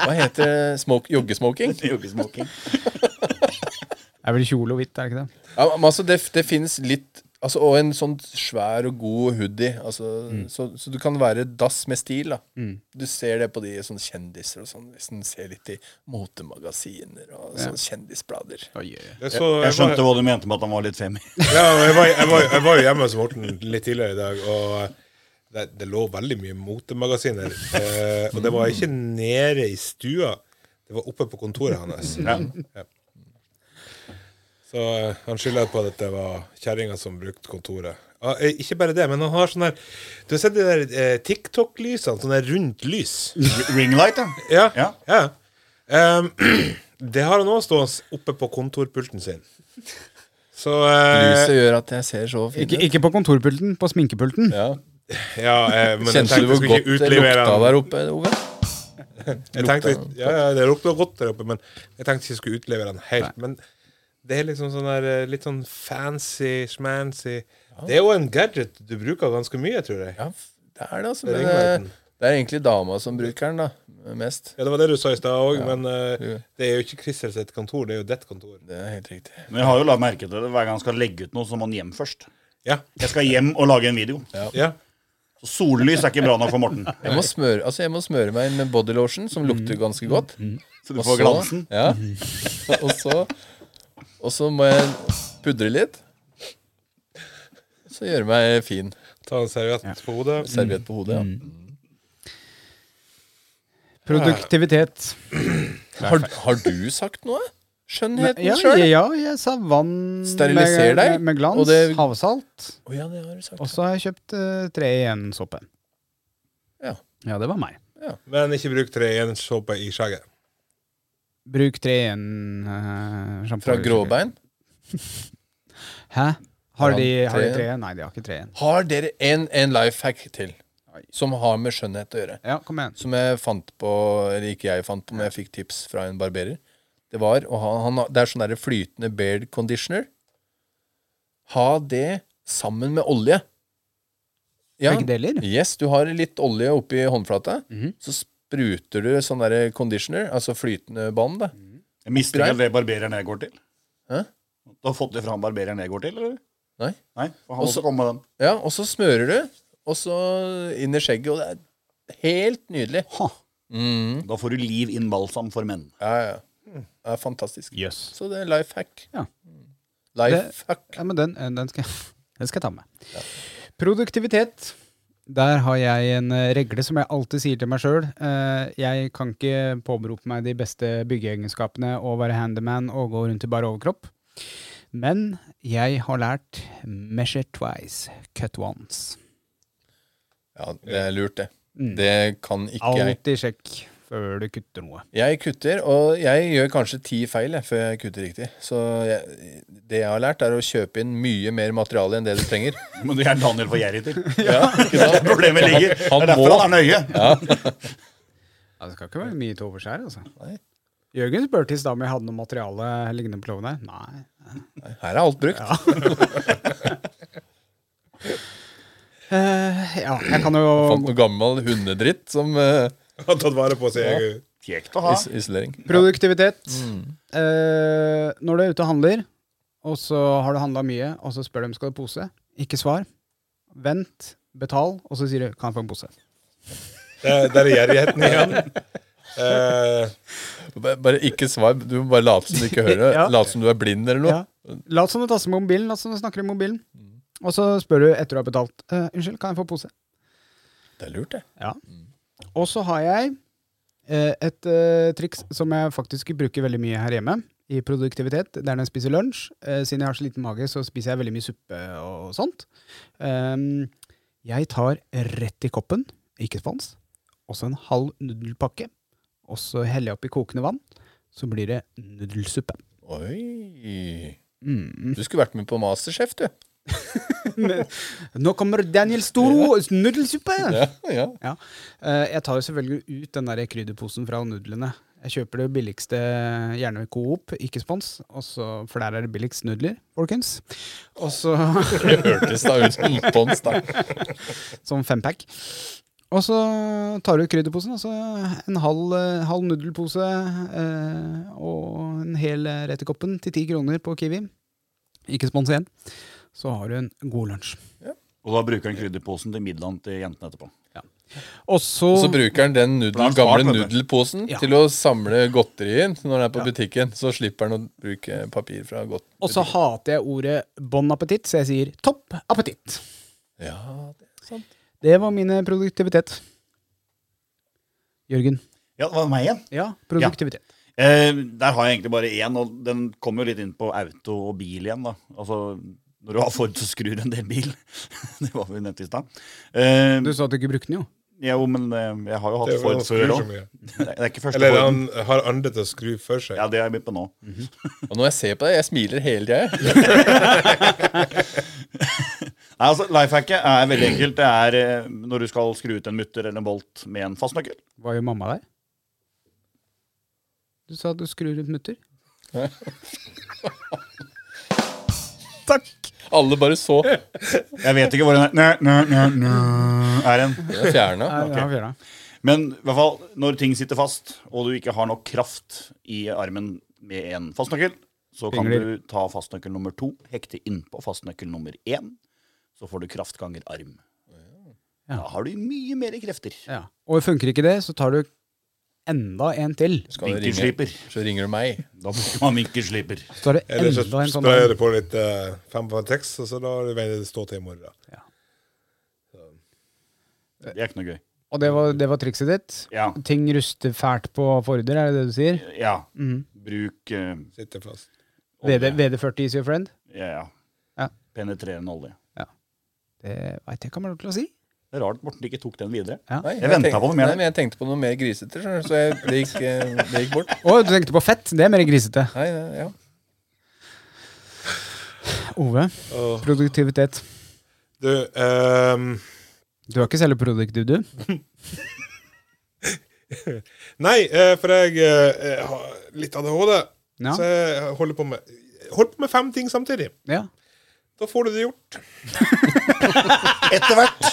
Hva heter det? Smoke, joggesmoking?
(laughs) Joggesmoking.
det er vel kjole og hvitt, er det ikke det?
Ja, men altså, det, det finnes litt altså, Og en sånn svær og god hoodie. Altså,
Mm.
så, så du kan være dass med stil. da Du ser det på de sånne kjendiser og sånn. Hvis en ser litt i motemagasiner og sånne kjendisblader.
Jeg,
Jeg
så, var-
skjønte hva du mente med at han var litt (laughs) femi.
Ja, men jeg var, jeg, var, jeg var jo hjemme hos Morten litt tidligere i dag, og eh, det, det lå veldig mye motemagasiner. Eh, og det var ikke nede i stua, det var oppe på kontoret hans. Ja. Så eh, han skylder på at det var kjerringa som brukte kontoret. Ja, eh, ikke bare det, men han har sånn her Du har sett de der eh, TikTok-lysene? Sånn der rundt lys.
Ringlight, ja.
Ja. ja.
Ja.
Ehm, (clears throat) det har han òg stående oppe på kontorpulten sin. Så eh,
Lyset gjør at jeg ser så fin
Ikke,
ut.
ikke på kontorpulten, på sminkepulten.
Ja.
Ja, eh, men jeg
Kjente du
tenkte jeg
hvor
skulle
godt
ikke
det
utlevere
lukta
han.
der oppe, Ove?
Jeg tenkte,
lukta?
ja, ja, det lukta godt der oppe, men jeg tenkte ikke jeg skulle utlevere han helt. Men det er liksom sånn der eh, litt sånn fancy, schmancy Det er jo en gadget du bruker ganske mye, tror jeg.
Ja, f- det er det, altså.
Det er
Men,
ringverden.
eh, det er egentlig dama som bruker den, da. Mest.
Ja, Det var det du sa i stad òg, men
Ja.
eh, det er jo ikke Christer sitt kontor, det er jo ditt kontor.
Det er helt riktig.
Men jeg har jo la merke til det hver gang han skal legge ut noe, så må han hjem først.
Ja.
Jeg skal hjem og lage en video.
ja.
Så sollys er ikke bra nok for (laughs) Morten.
Jeg må smøre, altså jeg må smøre meg inn med body lotion, som
Mm.
lukter ganske godt.
Så du får glansen.
Ja. (laughs) Og så, og så må jeg pudre litt. Så gjøre meg fin.
Ta en serviett på hodet.
Serviett på hodet.
Produktivitet.
Ja. Har, har du sagt noe? Skjønnheten
Ja,
sjøl?
ja, jeg sa vann
Steriliser
med,
deg,
med glans,
og det-
havsalt.
Å ja, det har du sagt.
Og så har jeg kjøpt eh, tre igjen såpe.
Ja.
ja, det var meg.
Men ikke bruk tre igjen såpe i skjegget. (laughs)
Bruk tre igjen uh, sjampo.
Fra gråbein.
Hæ? Har
Ja,
de, har de
tre
tre igjen? Nei, de har ikke tre igjen.
Har dere en, en life hack til som har med skjønnhet å gjøre?
Ja, kom igjen.
som jeg fant på, eller ikke jeg fant på, men jeg fikk tips fra en barberer. Det var å ha han, har- Det er sånn der flytende beard conditioner. Ha det sammen med olje. Ja.
Begge deler?
Yes, du har litt olje oppi håndflata. Så spruter du sånn der conditioner, altså flytende bånd, da.
Jeg mistenker det barbereren jeg går til.
Hæ?
Du har fått det fra han barbereren jeg går til, eller?
Nei.
Nei, for han
Også-
også kom med den.
Ja, og så smører du, og så inn i skjegget, og det er helt nydelig.
Da får du liv inn balsam for menn.
Ja, ja. Det er fantastisk.
Jøss.
Så det er life hack. Mm.
Ja.
Life hack.
Ja, men den, eh, den, skal, jeg- (laughs) den skal jeg ta med. Produktivitet. Der har jeg en eh, regle som jeg alltid sier til meg sjøl. Jeg kan ikke påberope meg de beste byggeegenskapene og være handyman og gå rundt i bar overkropp. Men jeg har lært measure twice, cut once.
Ja, det er lurt, det.
Mm.
Det kan ikke jeg.
Alltid sjekk før du kutter noe.
Jeg kutter, og jeg gjør kanskje ti feil jeg, før jeg kutter riktig. Så jeg, det jeg har lært, er å kjøpe inn mye mer materiale enn det du trenger.
Men det er Daniel for gjerrig (laughs) til. Det
Ja,
er
ikke
der
sant?
problemet ligger. Det
Han
er derfor
må-
han er nøye.
Ja, det skal ikke være mye til overs her, altså. Jørgen spurte i stad om jeg hadde noe materiale liggende på låven her. Nei.
Her er alt brukt.
Eh, ja, jeg kan jo
Fant noe gammel hundedritt som eh,
Har tatt vare på sin egen
Kjekt å ha.
is isolering.
Produktivitet. Eh, når du er ute og handler, og så har du handla mye, og så spør de skal du ha pose, ikke svar. Vent, betal, og så sier du 'kan jeg få en pose'?
Der der er gjerrigheten
(laughs)
igjen. Eh,
Bare bare ikke svar. Du må bare late som du ikke hører.
(laughs) Ja.
Late som du er blind eller noe.
Ja. Lat som du tasser med mobilen, lat som du snakker i mobilen. Og så spør du etter du har betalt. eh, 'Unnskyld, kan jeg få pose?'
Det er lurt, det.
Ja. Og så har jeg eh, et eh, triks som jeg faktisk bruker veldig mye her hjemme, i produktivitet. Det er når jeg spiser lunsj. Eh, siden jeg har så liten mage, så spiser jeg veldig mye suppe og sånt. Ehm, jeg tar rett i koppen, ikke spons, og så en halv nudelpakke. Og så heller jeg oppi kokende vann. Så blir det nudelsuppe.
Oi.
Mm.
Du skulle vært med på Masterchef, du.
Nå kommer Daniel Storo! Nudelsuppe!
Ja, (laughs) ja.
Ja. Eh, Jeg tar jo selvfølgelig ut den der krydderposen fra nudlene. Jeg kjøper det billigste, gjerne Coop, ikke spons, og så- for der er det billigst nudler, folkens. Og så (laughs)
Det hørtes da ut som spons, da.
Sånn fempack. Og så tar du ut krydderposen, og så en halv, eh, halv nudelpose eh, og en hel eh, rett i koppen til ti kroner på Kiwi. Ikke spons igjen. Så har du en god lunsj.
Og da bruker han krydderposen til middagen til jentene etterpå.
Og så
Og så bruker han den
Da er
nudel,
han smart,
gamle
vet du.
nudelposen
Ja.
til å samle godterien når han er på butikken. Så slipper han å bruke papir fra godt...
og så hater jeg ordet bon appetitt, så jeg sier topp appetitt.
Ja, det er sant.
Det var min eh, produktivitet. Jørgen.
Ja, det var meg igjen.
Ja, produktivitet.
Eh, der har jeg egentlig bare én, og den kommer jo litt inn på auto og bil igjen. da. Altså, Når du har Ford, så skrur du en del bil. (laughs) det var vi nevnte i stad. Eh,
Du sa at du ikke brukte den, jo.
jo, men eh, jeg har jo
Det
hatt
er jo
Ford
han skrur
før
så
òg.
mye.
(laughs) Det er ikke første
Eller
Forden.
han har andre til å skru for seg.
Ja, det har jeg begynt på nå.
Og når jeg ser på deg, jeg smiler hele tida.
Nei, altså, Lifehacket er veldig enkelt. Det er eh, når du skal skru ut en mutter eller en bolt med en fastnøkkel.
Hva gjør mamma der? Du sa at du skrur ut mutter. Takk!
Alle bare så. Jeg
Jeg vet ikke hvor den er. Nø, nø, nø, nø, er den.
fjerna.
Nei, det har vi gjort, da.
Men i hvert fall, når ting sitter fast, og du ikke har nok kraft i armen med en fastnøkkel, så kan
Pingler.
du ta fastnøkkel nummer to, hekte innpå fastnøkkel nummer én. Så får du kraft ganger arm.
Ja.
Da har du mye mer krefter.
Ja. Og funker ikke det, så tar du enda en til.
Skal du ringe,
Vinkelsliper.
så ringer du meg.
Da bruker man vinkelsliper.
Så tar du
Eller så
enda en sånn
sprayer du på litt eh, fem på tekst, og så lar du veien stå til i morgen.
Det er ikke noe gøy.
Og det var, det var trikset ditt?
Ja.
Ting ruster fælt på Forder, er det det du sier?
ja.
Mm.
Bruk eh,
Sitter fast.
VD, VD40 is your friend?
ja, ja.
Ja.
penetrerende olje.
Det veit jeg ikke om jeg har lov til å si.
Det er rart Morten ikke tok den videre.
Nei,
Jeg ventet
tenkte-
på noe mer.
Nei, men jeg tenkte på noe mer grisete, skjønner du, så jeg, det, gikk, eh, det gikk bort.
Å, du tenkte på fett? Det er mer grisete.
Nei, nei, ja.
Ove,
Åh.
produktivitet.
Du, ehm,
Du er ikke særlig produktiv, du.
Nei, eh, for jeg eh, har litt ADHD,
Ja.
så jeg holder på med Holder på med fem ting samtidig.
ja.
Da får du det gjort.
Etter hvert!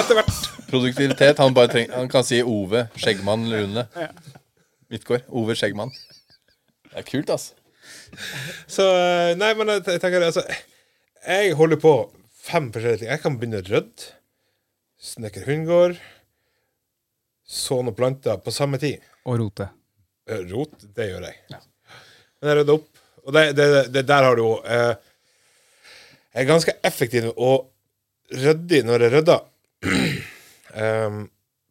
Etter hvert.
Produktivitet. Han, bare treng, han kan si Ove Skjeggmann Lune. Midtgård. Ove Skjeggmann. Det er kult, altså.
Så eh, Nei, men jeg, jeg tenker altså Jeg holder på fem forskjellige ting. Jeg kan begynne å rydde, snekre hundegård, så noen planter på samme tid.
Og rote.
Eh, Rot, det gjør jeg. Men jeg rydder opp. Og det, det, det der har du òg. Eh, jeg er ganske effektiv og ryddig når jeg rydder. (clears throat) Em,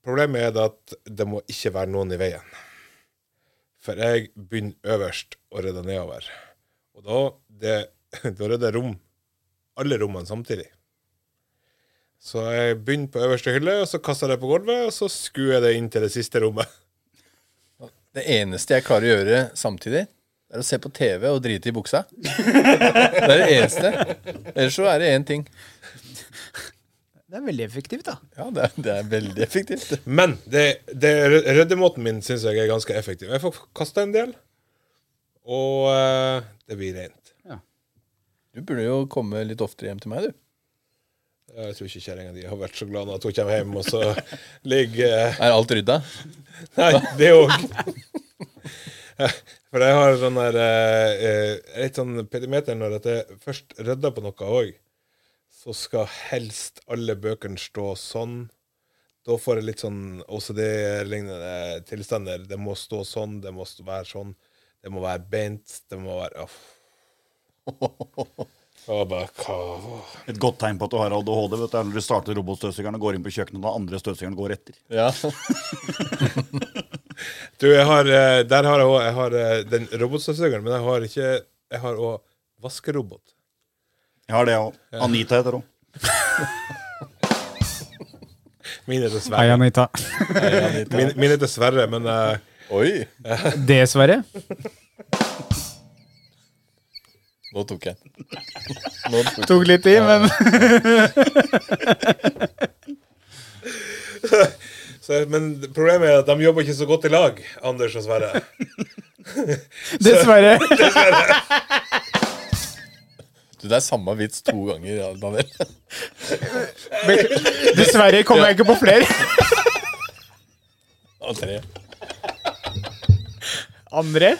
problemet er det at det må ikke være noen i veien. For jeg begynner øverst og rydder nedover. Og da, det, (laughs) da rydder jeg rom. Alle rommene samtidig. Så jeg begynner på øverste hylle, og så kaster jeg det på gulvet, og så skuer jeg det inn til det siste rommet. (laughs)
Det eneste jeg klarer å gjøre samtidig, er å se på TV og drite i buksa. Det er det eneste. Ellers så er det én ting.
Det er veldig effektivt, da.
Ja, det er, det er veldig effektivt.
Men det, det ryddemåten min syns jeg er ganske effektiv. Jeg får kasta en del, og eh, det blir rent.
Du burde jo komme litt oftere hjem til meg, du.
Jeg tror ikke kjerringa di har vært så glad nå at hun kommer hjem, og så (laughs) ligger eh,
Er alt rydda?
Nei, det òg. For jeg har sånn der eh, eh, Litt sånn pedimeter når at jeg først rydder på noe òg, så skal helst alle bøkene stå sånn. Da får jeg litt sånn OCD-lignende tilstander. Det må stå sånn, det må stå- være sånn, det må være beint, det må være Uff. Og bare, hva?
Et godt tegn på at du har ADHD vet du, er når du starter robotstøvsugeren og går inn på kjøkkenet, og den andre støvsugeren går etter.
Ja.
Du, jeg har, eh, der har jeg òg Jeg har eh, den robotstøvsugeren, men jeg har ikke Jeg har òg vaskerobot.
Jeg har det òg. Anita heter hun.
Mine er
Hei,
dessverre
Anita.
Min, min er dessverre, men eh,
Oi!
(laughs) Dessverre.
Nå tok jeg den. Nå tok jeg.
Tok litt (laughs) i, men
Så, men problemet er at de jobber ikke så godt i lag, Anders og Sverre.
(laughs) Dessverre.
Du, det er samme vits to ganger, ja, Daniel.
Dessverre kommer jeg ikke på flere.
Og tre.
(laughs) Andre?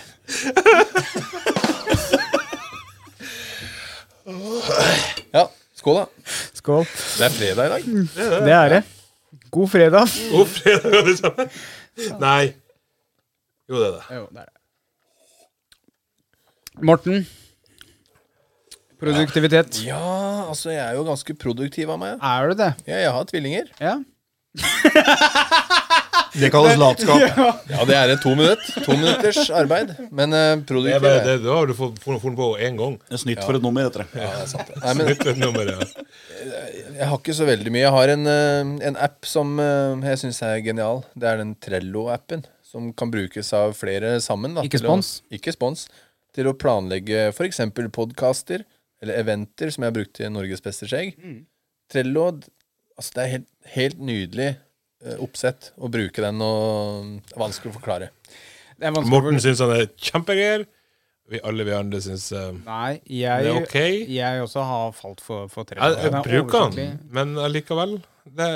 Ja, skål, da.
Skål.
Det er fredag i dag.
Det er det. God fredag.
God fredag, alle sammen. Nei. Jo, det er det.
Jo, det er det. Morten. Produktivitet.
Ja, altså, jeg er jo ganske produktiv av meg. ja.
Er du det?
Ja, jeg har tvillinger.
Ja.
Det kalles latskap.
Ja, det er et to minutt. To minutters arbeid. Men eh,
Det, er
produktiv
bare,
er jeg.
det, det har du fått fått- fått på én (laughs) gang.
(laughs) Det er snytt for et nummer, heter det.
Ja, det er sant. det. Nei, men
Nytt et nummer, ja.
Jeg har ikke så veldig mye. Jeg har en, eh, en app som eh, jeg syns er genial. Det er den Trello-appen. Som kan brukes av flere sammen. Da,
Ikke
til å-
spons.
Ikke spons. Til å planlegge f.eks. podkaster eller eventer, som jeg har brukt til Norgesbeste skjegg.
Mm.
Trello d- altså Det er helt, helt nydelig eh, oppsett å bruke den, og det er vanskelig å forklare.
Det er vanskelig
Morten syns han er kjempegreier. Vi alle vi andre syns eh,
Nei,
det er
jeg,
ok. Jeg,
jeg også har falt for, for tre. eh, Den
jeg
er
bruker han,
oversiktlig.
men allikevel det,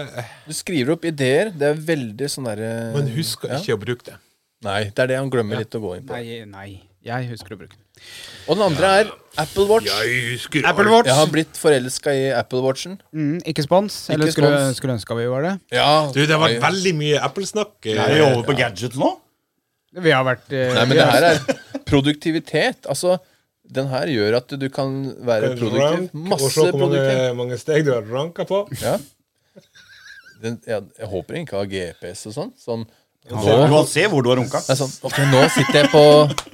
Du skriver opp ideer. Det er veldig sånn derre
Men husk
ja.
ikke å bruke det.
Nei, det er det han glemmer litt å gå inn på.
Nei, nei, jeg husker å bruke den.
Og den andre er Apple Watch.
husker
Apple Watch.
Jeg har blitt forelska i Apple Watchen.
Mm, ikke spons. Eller
Ikke
skulle,
spons.
skulle ønske vi var det.
Ja,
Du, det har
Nei.
vært veldig mye Apple-snakk. eh,
Er vi over på gadgets nå?
Vi har vært eh,
Nei, men
vi
det
har-
her er produktivitet. Altså, den her gjør at du kan være produktiv.
Rank, og se
Masse
hvor mange,
produktiv.
mange steg du har ranka på.
Ja. Den, jeg, jeg håper den ikke har GPS og sånn. Sånn,
Du
nå,
kan se hvor du har runka.
det er sånn
(laughs)
Ok, nå sitter jeg på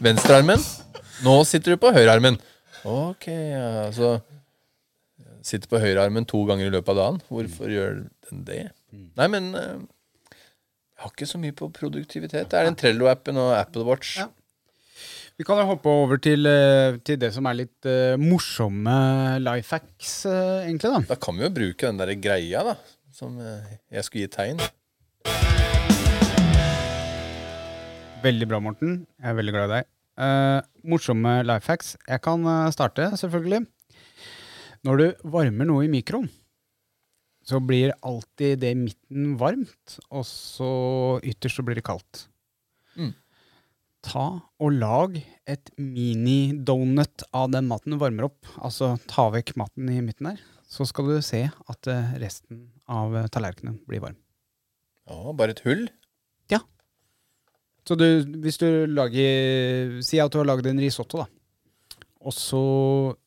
venstrearmen. Nå sitter du på høyrearmen. Ok, ja, så Sitter på høyrearmen to ganger i løpet av dagen. Hvorfor gjør den det? Nei, men eh, jeg har ikke så mye på produktivitet. Det er den Trello-appen og Apple Watch.
Ja. Vi kan jo hoppe over til, eh, til det som er litt eh, morsomme life hacks, eh, egentlig, da.
Da kan vi jo bruke den der greia, da. Som eh, jeg skulle gi tegn.
Veldig bra, Morten. Jeg er veldig glad i deg. Eh, morsomme life hacks. Jeg kan eh, starte, selvfølgelig. Når du varmer noe i mikroen, så blir alltid det i midten varmt, og så ytterst så blir det kaldt.
Mm.
Ta og lag et mini-donut av den maten du varmer opp. Altså ta vekk maten i midten der. Så skal du se at eh, resten av eh, tallerkenen blir varm.
Ja, bare et hull.
Så du, hvis du lager Si at du har lagd en risotto, da. Og så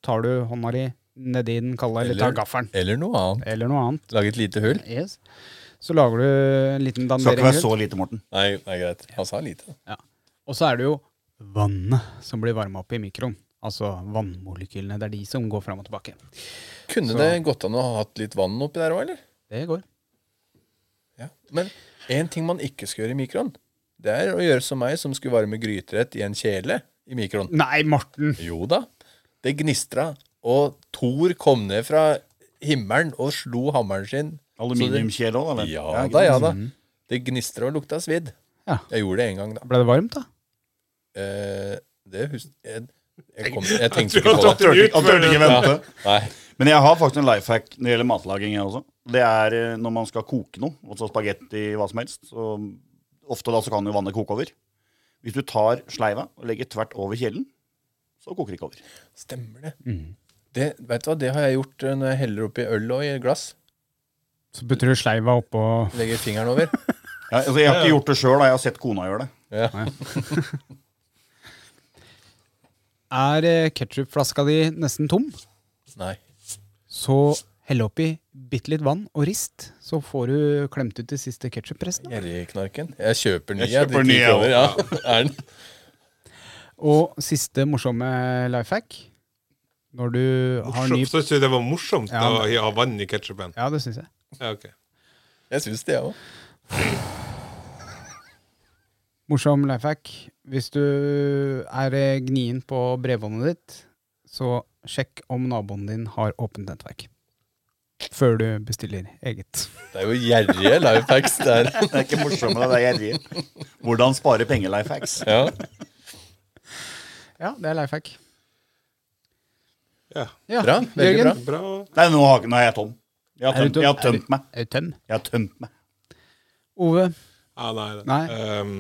tar du hånda di nedi den kalde, eller,
Eller-
tar gaffelen,
Eller noe annet.
eller noe annet.
Lage et lite hull.
Yes. Så lager du en liten
Skal ikke
dandering
være
rundt.
så lite, Morten.
Nei, nei greit. Han sa lite.
Og så er det jo vannet som blir varma opp i mikroen. Altså vannmolekylene. Det er de som går fram og tilbake.
Kunne
Så-
det gått an å ha hatt litt vann oppi der òg, eller?
Det går.
Ja. Men én ting man ikke skal gjøre i mikroen, det er å gjøre som meg, som skulle varme gryterett i en kjele i mikroen.
Nei, Morten!
Jo da. Det gnistra, og Thor kom ned fra himmelen og slo hammeren sin.
Aluminiumkjele òg, eller?
Ja mm. da, ja da. Det gnistra og lukta svidd.
Ja.
Jeg gjorde det én gang, da.
Ble det varmt, da?
Eh, det hus... Jeg, jeg, kom, jeg tenkte
Jeg
ikke
tror
på
han
det.
tatt den ut
Han turte ikke
før-
vente.
Nei.
Men jeg har faktisk en life hack når det gjelder matlaging. jeg også. Det er eh, når man skal koke noe, altså spagetti, hva som helst. Så ofte da så kan jo vannet koke over. Hvis du tar sleiva og legger tvert over kjelen, så koker det ikke over.
Stemmer det.
Mm.
det vet du hva, det har jeg gjort eh, når jeg heller oppi øl og i glass.
Så putter du sleiva oppå
Legger fingeren
(laughs)
over.
Ja, altså, jeg har ikke gjort det sjøl, jeg har sett kona gjøre det.
Ja.
Er ketsjupflaska di nesten tom?
Nei.
Så hell oppi bitte litt vann og rist, så får du klemt ut det siste ketsjuppresten.
Gjerrigknarken. Jeg kjøper ny.
Jeg kjøper
drikker
ny,
ikke
jeg
over, ja. Er den?
Og siste morsomme life hack når du har ny
Morsomt. Så synes jeg det var morsomt
Ja,
å ha vann i ketsjupen.
Ja, det syns jeg.
Ja, ok.
Jeg syns det, jeg òg.
Morsom life hack. Hvis du er eh, gnien på brevbåndet ditt, så sjekk om naboen din har åpent nettverk. før du bestiller eget.
Det er jo gjerrige lifehacks
(laughs)
der.
Det er ikke morsommere, det er gjerrig. Hvordan spare penger, Lifehacks.
Ja.
Ja, det er life hack.
Ja.
Ja,
Bra, veldig
Jørgen?
bra.
Bra.
Nei, nå har, nå er jeg tom. Jeg har
Er du
tømt,
tom?
jeg har tømt meg.
Er du tøm?
Jeg har tømt meg.
Ove?
Ah, nei, det.
Nei.
Ehm,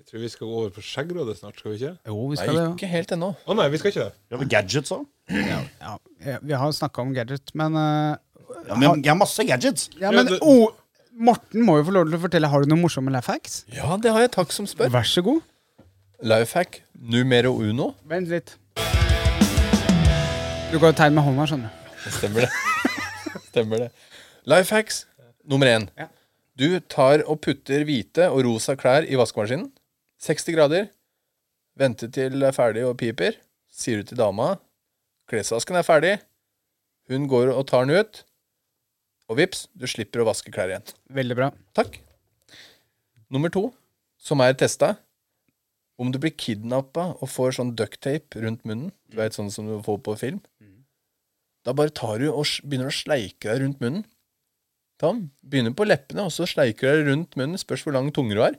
jeg tror vi skal gå over på Skjeggrådet snart, skal vi ikke?
Jo, vi
Nei,
skal det.
ikke helt ennå.
Å nei, vi skal ikke det.
Ja, men Gadgets òg.
Ja, ja, vi har snakka om gadget, men eh,
Ja, men jeg har masse gadgets.
Ja, men
det-
O- Morten må jo få lov til å fortelle. Har du noen morsomme life hacks?
Ja, det har jeg. Takk som spør.
Vær så god.
Lifehack numero uno.
Vent litt. Du kan jo tegne med hånda, skjønner du.
Stemmer det. (laughs) Stemmer det. Lifehacks nummer én. Du tar og putter hvite og rosa klær i vaskemaskinen. 60 grader. Venter til det er ferdig og piper. Sier du til dama klesvasken er ferdig. Hun går og tar den ut. Og vips, du slipper å vaske klær igjen.
Veldig bra.
Takk. Nummer to, som er testa. Om du blir kidnappa og får sånn ducktape rundt munnen, du vet sånn som du får på film, da bare tar du og s- begynner å sleike deg rundt munnen. Ta den, begynner på leppene, og så sleiker du deg rundt munnen, spørs hvor lang tunge du har.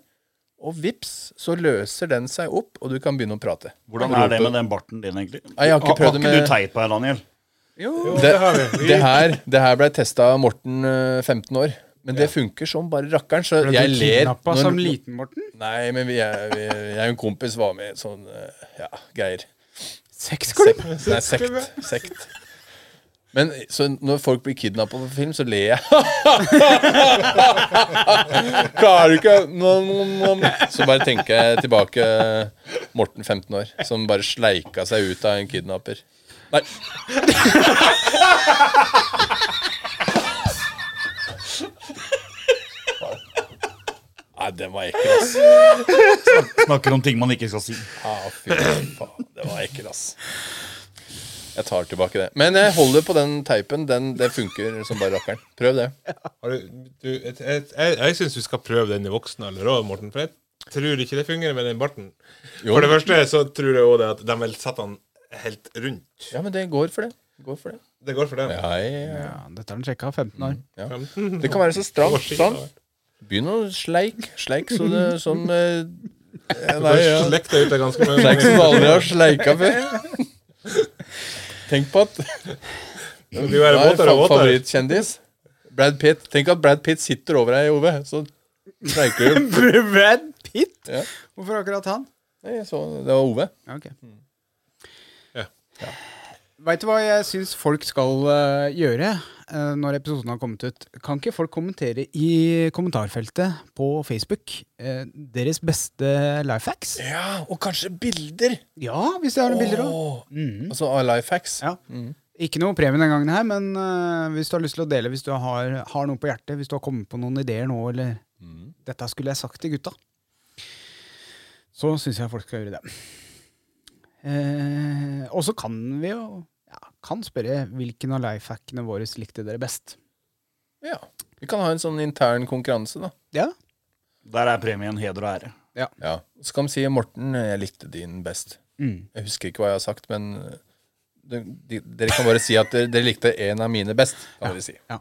Og vips, så løser den seg opp, og du kan begynne å prate.
Hvordan er det med den barten din, egentlig?
Nei, jeg har ikke
Har
prøvd det
ikke
med
du teip her, Daniel?
Jo, det,
det,
har vi. vi
det, her, det her ble testa av Morten, eh, 15 år. Men det funker som bare rakkeren, så jeg ler.
Kidnappa
når-
som liten, Morten?
Nei, men vi er, vi, jeg og en kompis var med i sånn eh, ja, greier.
Sexklubb?
Sekt. Nei, sekt. sekt. Men så når folk blir kidnappa på film, så ler jeg. (laughs) Klarer du ikke nom, nom, nom. Så bare tenker jeg tilbake Morten, 15 år, som bare sleika seg ut av en kidnapper. Nei. (laughs) Nei, den var ekkel, ass.
Snakker om ting man ikke skal si.
Ja, fy faen, det var ekkelt, ass. Jeg tar tilbake det. Men jeg holder på den teipen. Den, det funker som bare rakkeren. Prøv det.
har du, du, et, et, jeg jeg syns du skal prøve den i voksen alder òg, Morten. For jeg tror ikke det fungerer med den barten.
Jo.
For det første så tror jeg òg det at de vil sette den helt rundt.
Ja, men det går for det. Går for det.
Det går for dem. (laughs)
Ja, ja,
Ja, dette har han sjekka. 15 (laughs) år.
ja. Det kan være så stramt. Sånn. Begynn å sleik. Sleik så det, som eh, eh, Nei, ja.
Slekk deg ut av ganske mange.
Sleik som du aldri har sleika før. Tenk på at
Det blir bare
Hva er
våtere og
fa-
våtere.
favorittkjendis? Brad Pitt. Tenk at Brad Pitt sitter over deg, Ove. Så sleiker (laughs) du.
Brad Pitt?
Ja.
Hvorfor akkurat han?
Nei, jeg så, det var Ove.
Ja, Ok.
Ja.
Veit du hva jeg syns folk skal eh, gjøre eh, når episoden har kommet ut? Kan ikke folk kommentere i kommentarfeltet på Facebook eh, deres beste life hacks?
Ja, og kanskje bilder.
Ja, hvis de har noen bilder òg.
Åh, Altså av life hacks.
Ja. Mhm. Ikke noe premie den gangen her, men øh, hvis du har lyst til å dele, hvis du har, har noe på hjertet, hvis du har kommet på noen ideer nå, eller 'Dette skulle jeg sagt til gutta', så syns jeg folk skal gjøre det. Eh, og så kan vi jo ja, kan spørre hvilken av life hackene våre likte dere best.
Ja. Vi kan ha en sånn intern konkurranse, da.
Ja,
Der er premien heder og ære.
Ja. Så kan vi si Morten, jeg likte din best. Jeg husker ikke hva jeg har sagt, men eh, de, de, dere kan bare si at dere, dere likte en av mine best. Kan dere si.
Ja.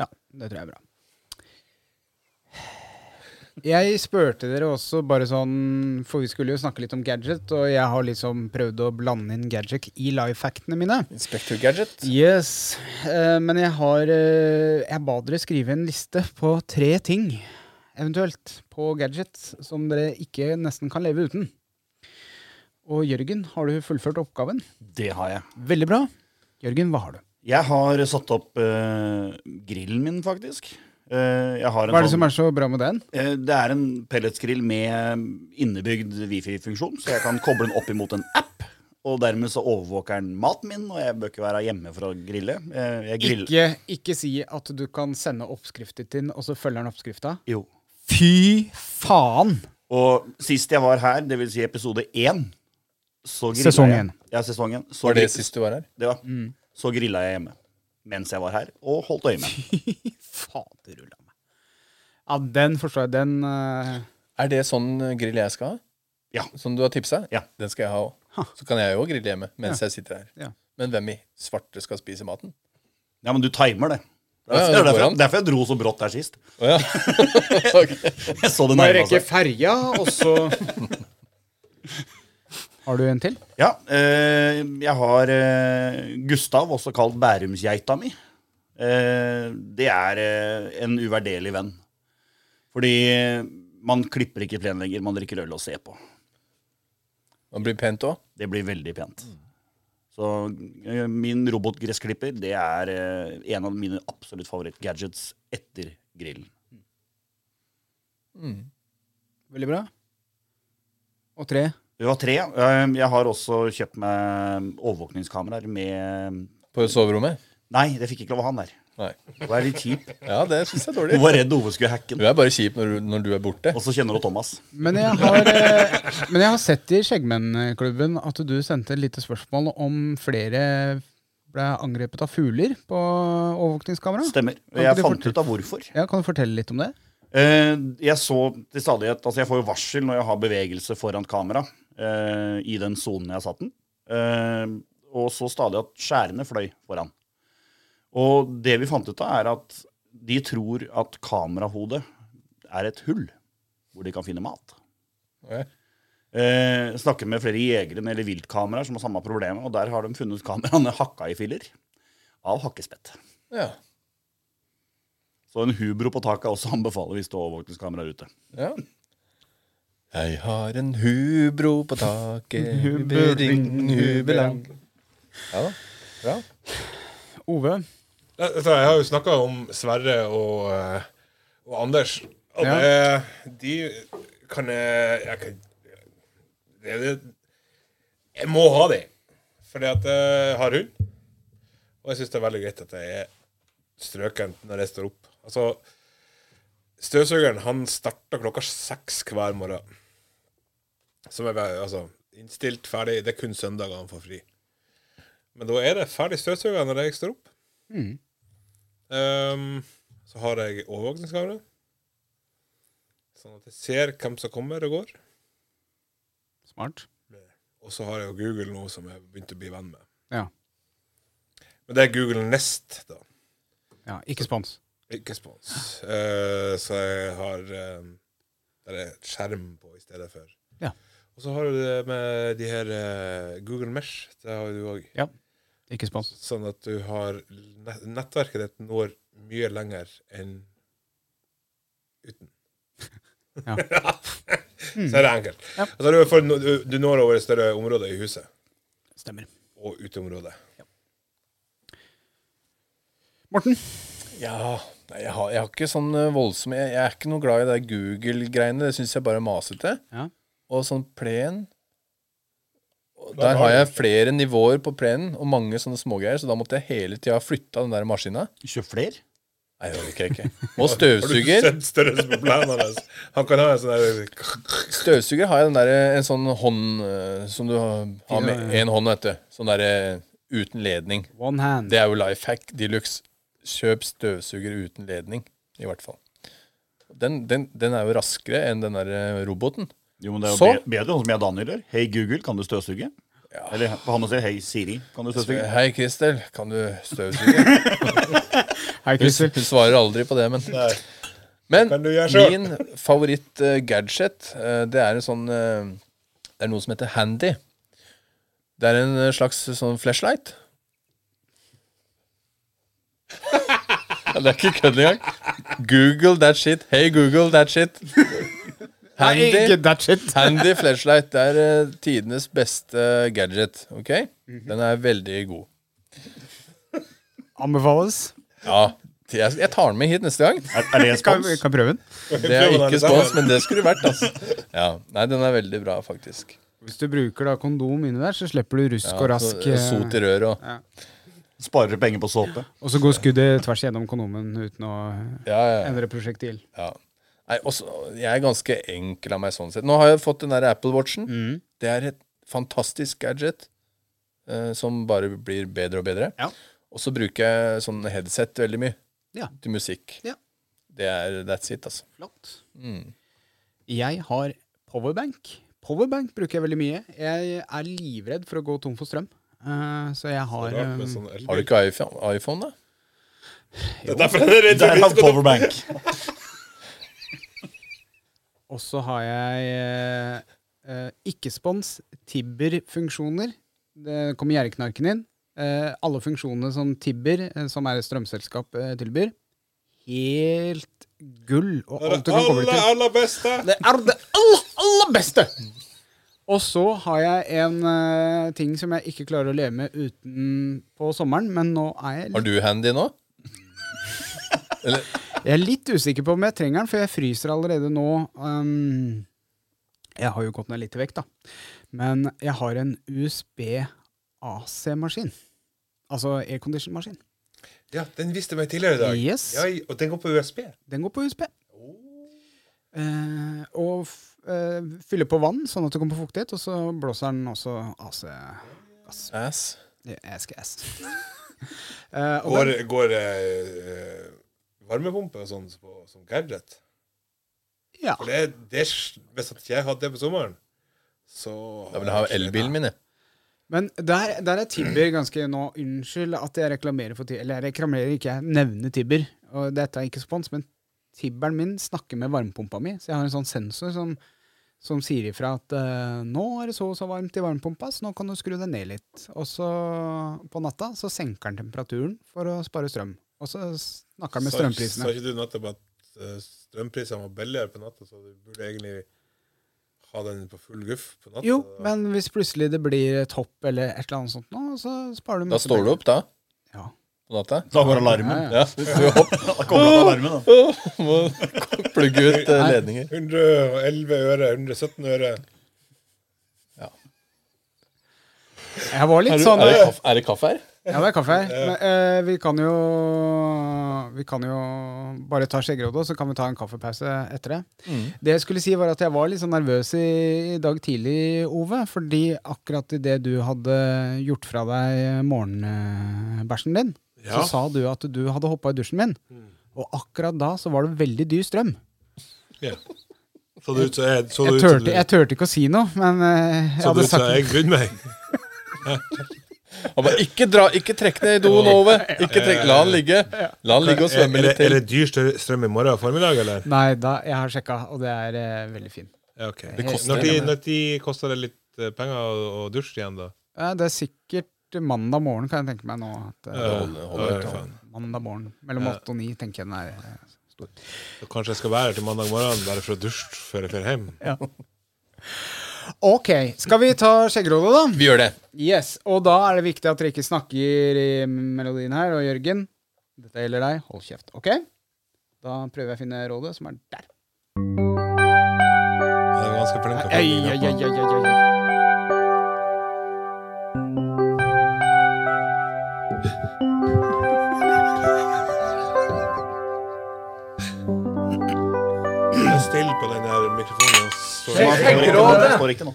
ja det tror jeg er bra. Jeg spurte dere også bare sånn, for vi skulle jo snakke litt om gadget, og jeg har liksom prøvd å blande inn gadget i lifehackene mine.
Inspector Gadget.
Yes, eh, men jeg har eh, Jeg ba dere skrive en liste på tre ting, eventuelt, på gadget som dere ikke nesten kan leve uten. Og Jørgen, har du fullført oppgaven?
Det har jeg.
Veldig bra. Jørgen, hva har du?
Jeg har satt opp eh, grillen min, faktisk. Eh, jeg har en
Hva er det
sånn-
som er så bra med den?
Eh, Det er en pelletsgrill med innebygd wifi-funksjon, så jeg kan koble den opp imot en app. Og dermed så overvåker den maten min, og jeg bør ikke være hjemme for å grille. Eh, Jeg griller.
Ikke, ikke si at du kan sende oppskriften din, og så følger den oppskrifta.
Jo.
Fy faen!
Og sist jeg var her, dvs. Si episode én, så grilla
Sesong
jeg.
én. Mm.
Ja, sesongen. Så
Var det
grill-
sist du var her?
Det var. Så grilla jeg hjemme mens jeg var her, og holdt øye med.
Faderulla meg. Ja, den forstår jeg. Den eh,
Er det sånn eh, grill jeg skal ha?
Ja.
Som du har tipsa?
Ja.
Den skal jeg ha òg. Så kan jeg òg grille hjemme mens jeg sitter her.
Ja.
Men hvem i svarte skal spise maten?
Ja, men du timer det. Det
Ja,
er
det går
derfor,
an.
derfor jeg dro så brått der sist. (laughs)
Å ja. Ok.
Jeg så det
Må jeg
nærme
rekke
seg.
ferja, og så (laughs) Har du en til?
Ja, eh, jeg har eh, Gustav, også kalt Bærumsgeita mi. Eh, det er eh, en uvurderlig venn. Fordi eh, man klipper ikke plen lenger, man drikker øl og ser på.
Man blir pent òg.
Det blir veldig pent. Så eh, min robotgressklipper det er eh, en av mine absolutt favorittgadgets etter grillen.
Veldig bra. Og tre.
Det var tre. Eh, Jeg har også kjøpt meg overvåkningskameraer med
På soverommet.
Nei, det fikk ikke lov å ha han der.
Nei.
Det var litt kjip.
Ja, det syns jeg er
Hun
dårlig.
var redd Ove skulle hacke
Du
den.
er bare kjip når du, når du er borte.
Og så kjenner hun Thomas.
Men jeg har, eh, men jeg har sett i Skjeggmennklubben at du sendte et lite spørsmål om flere ble angrepet av fugler på overvåkningskamera.
Stemmer.
Kan ikke
jeg
du
fant
fortelle-
ut av hvorfor.
Ja, kan du fortelle litt om det?
Eh, Jeg så til stadighet Altså, jeg får jo varsel når jeg har bevegelse foran kamera eh, i den sonen jeg satt den. Eh, Og så stadig at skjærene fløy foran. Og det vi fant ut av, er at de tror at kamerahodet er et hull hvor de kan finne mat.
Ok.
Eh, snakker med flere jegere eller viltkameraer som har samme problemet, og der har de funnet kameraene hakka i filler av hakkespett.
Ja.
Så en hubro på taket er også anbefaler hvis det er overvåkningskamera ute.
ja. Jeg har en hubro på taket, (laughs) hubering, hubelang. Ja da. Bra.
Ove?
Jeg, jeg tror jeg har jo snakka om Sverre og, eh, og Anders. Og det, de kan jeg, jeg kan, det, det, Jeg må ha de. Fordi at jeg har hund. Og jeg syns det er veldig greit at jeg er strøkent når jeg står opp. Altså, støvsugeren han starter klokka seks hver morgen. Som er ve- altså, innstilt, ferdig. Det er kun søndager han får fri. Men da er det ferdig støvsuger når jeg står opp. Ehm, så har jeg overvåkningskamera. Sånn at jeg ser hvem som kommer og går.
Smart.
Og så har jeg jo Google nå, som jeg begynte å bli venn med.
Ja.
Men det er Google Nest, da.
ja ikke spons.
Ikke spons. Eh, så jeg har eh, Der er et skjerm på i stedet for.
Ja.
Og så har du det med de her eh, Google Mesh. Det har jo du òg.
Ja. Ikke spons.
Sånn at du har net- Nettverket ditt når mye lenger enn uten.
(laughs) Ja.
(laughs) Så er det enkelt. Altså, du, får, du, du når over et større område i huset
Stemmer.
og uteområdet.
Morten?
Ja, nei, jeg har, jeg har ikke sånn eh, voldsom jeg, jeg er ikke noe glad i det Google-greiene. Det syns jeg bare er masete.
Ja.
Og sånn plen og Der har jeg flere nivåer på plenen og mange sånne smågreier, så da måtte jeg hele tida flytta den der maskina.
Kjøp flere?
Nei, det orker (laughs) jeg ikke. Og
Har du
støvsuger.
sett størrelsen på plenen hans? Han kan ha en sånn der
Støvsuger har jeg den der, eh, en sånn hånd eh, som du har har med én hånd, vet du. Sånn derre uten ledning.
One hand.
Det er jo life hack de luxe. Kjøp støvsuger uten ledning, i hvert fall. Den, den, den er jo raskere enn den der eh, roboten.
Jo, men det er jo
Så?
be- bedre, sånn som jeg og Daniel gjør. Hei, Google, kan du støvsuge? Eller han må si hei, Siri, kan du støvsuge?
Hei, Kristel, kan du støvsuge?
Hei,
Hun
Christer.
(laughs) hun svarer aldri på det, men Men
kan du gjøre selv.
min favoritt-gadget, det er en sånn eh, Det er noe som heter Handy. Det er en eh, slags sånn flashlight. Ja, det er ikke kødd engang. Google that shit. Hey, Google that shit. Handy.
Ikke that shit.
Handy flashlight det er eh, tidenes beste gadget. Ok?
Mhm.
Den er veldig god.
Anbefales.
Ja, jeg, jeg tar den med hit neste gang.
Er, er det en
Kan,
spons?
kan prøve den.
Det er ikke spons, men det skulle det vært. Altså. Ja, Nei, den er veldig bra, faktisk.
Hvis du bruker da kondom inni der, så slipper du rusk
Ja,
og
så-
rask.
og
eh,
sot i rør og
Sparer du penger på såpe?
Og så går skuddet tvers igjennom kondomen uten å
Ja, ja.
endre prosjektil.
ja. Nei, også, jeg er ganske enkel av meg sånn sett. Nå har jeg fått den der Apple Watchen.
Mm.
Det er et fantastisk gadget eh, som bare blir bedre og bedre.
Ja.
Og så bruker jeg sånn headset veldig mye
Ja.
til musikk.
Ja.
Det er that's it, altså.
Flott. Jeg har powerbank. Powerbank bruker jeg veldig mye. Jeg er livredd for å gå tom for strøm. Eh, så jeg har
Rart med
eh,
sånn elbil.
Har du ikke iPhone, iPhone da?
Det er derfor (laughs) det er rett
Der
og
er
slett godt.
powerbank.
Og så har jeg eh, eh, ikke-spons, Tibber-funksjoner. Det kommer gjerrknarken inn. Eh, alle funksjonene som Tibber, eh, som er et strømselskap, eh, tilbyr. Helt gull og
Det er
alt du
det
kan koble
aller,
til.
aller beste.
Det er det aller, aller beste! Og så har jeg en eh, ting som jeg ikke klarer å leve med uten på sommeren, men nå er jeg
Har du handy nå?
Jeg er litt usikker på om jeg trenger den, for jeg fryser allerede nå. Um, jeg har jo gått ned litt i vekt, da. Men jeg har en USB-AC-maskin. Altså aircondition-maskin.
Ja, den viste meg tidligere i dag.
Yes.
Ja, og den går på USB.
Den går på USB. Eh, og f eh, fyller på vann, sånn at det kommer fuktighet, og så blåser den også E AC-gass.
Ass.
Ask ass. (laughs) Eh, og
Går,
den,
går eh, varmepumpe og sånn på, som gadget.
ja.
For det, det, er s- hvis at ikke jeg hadde det på sommeren, så
Ja, men jeg har jo elbilen min, jeg.
Men der, der er Tibber ganske nå Unnskyld at jeg reklamerer for Tibber. Eller jeg reklamerer ikke, jeg nevner Tibber. Og dette er ikke spons, men Tibberen min snakker med varmepumpa mi. Så jeg har en sånn sensor som, som sier ifra at eh, nå er det så og så varmt i varmepumpa, så nå kan du skru deg ned litt. Og så på natta så senker den temperaturen for å spare strøm. Og så snakker han med
Sa- Sa
strømprisene.
ikke du nettopp at eh, strømprisene var billigere på natta, så du burde egentlig ha den på full guff på natta?
Jo,
eh,
da?
men hvis plutselig det blir et hopp eller et eller annet sånt nå, så sparer du
Da står du opp, da.
Ja.
På natta.
Da går alarmen.
Ja, ja.
Ja, du hopper.
(laughs) Da kommer det alarmen, da.
Må plugge ut eh, ledninger.
111 øre, 117 øre.
Jeg var
Er,
litt
du,
sånn
er, det kaffe, er det kaffe her?
Ja, det er kaffe her. Men, eh, vi kan jo Vi kan jo bare ta skjeggerodde, og så kan vi ta en kaffepause etter det.
Mm.
Det jeg skulle si, var at jeg var litt sånn nervøs i, i dag tidlig, Ove. Fordi akkurat idet du hadde gjort fra deg morgenbæsjen din,
Ja. Mm.
så sa du at du hadde hoppa i dusjen min. Og akkurat da så var det veldig dyr strøm.
Så det ut som jeg
Jeg
så det ut som
turte, jeg turte ikke å si noe, men eh, jeg
så det
hadde
ut som
sagt
jeg brydde meg.
Han bare, ikke, dra, ikke trekk ned i doen, Ove! Ikke trekk, La han ligge La han ligge og svømme
Er,
litt
er
til.
det dyr stø- strøm i morgen formiddag, eller?
Nei, da, jeg har sjekka, og det er eh, veldig fin.
Ja, ok.
Det koster-
Når de, når de koster det litt eh, penger å, å dusje igjen, da?
Eh, Det er sikkert mandag morgen, kan jeg tenke meg nå. At, eh,
holder- holder
Ja,
ut,
faen.
Mandag morgen mellom åtte og ni, tenker jeg den er eh, stor.
Så kanskje jeg skal være her til mandag morgen bare for å dusje før jeg drar hjem.
Ok, skal vi ta skjeggerådet, da?
Vi gjør det.
Yes, Og da er det viktig at dere ikke snakker i melodien her. Og Jørgen, dette gjelder deg. Hold kjeft. Ok? Da prøver jeg å finne rådet, som er der.
Ja, det er ganske flink å få
Ei,
den
ei,
knappen.
ei, ei, ei, ei.
Jeg er stille på den der mikrofonen. Så
Det står ikke nå.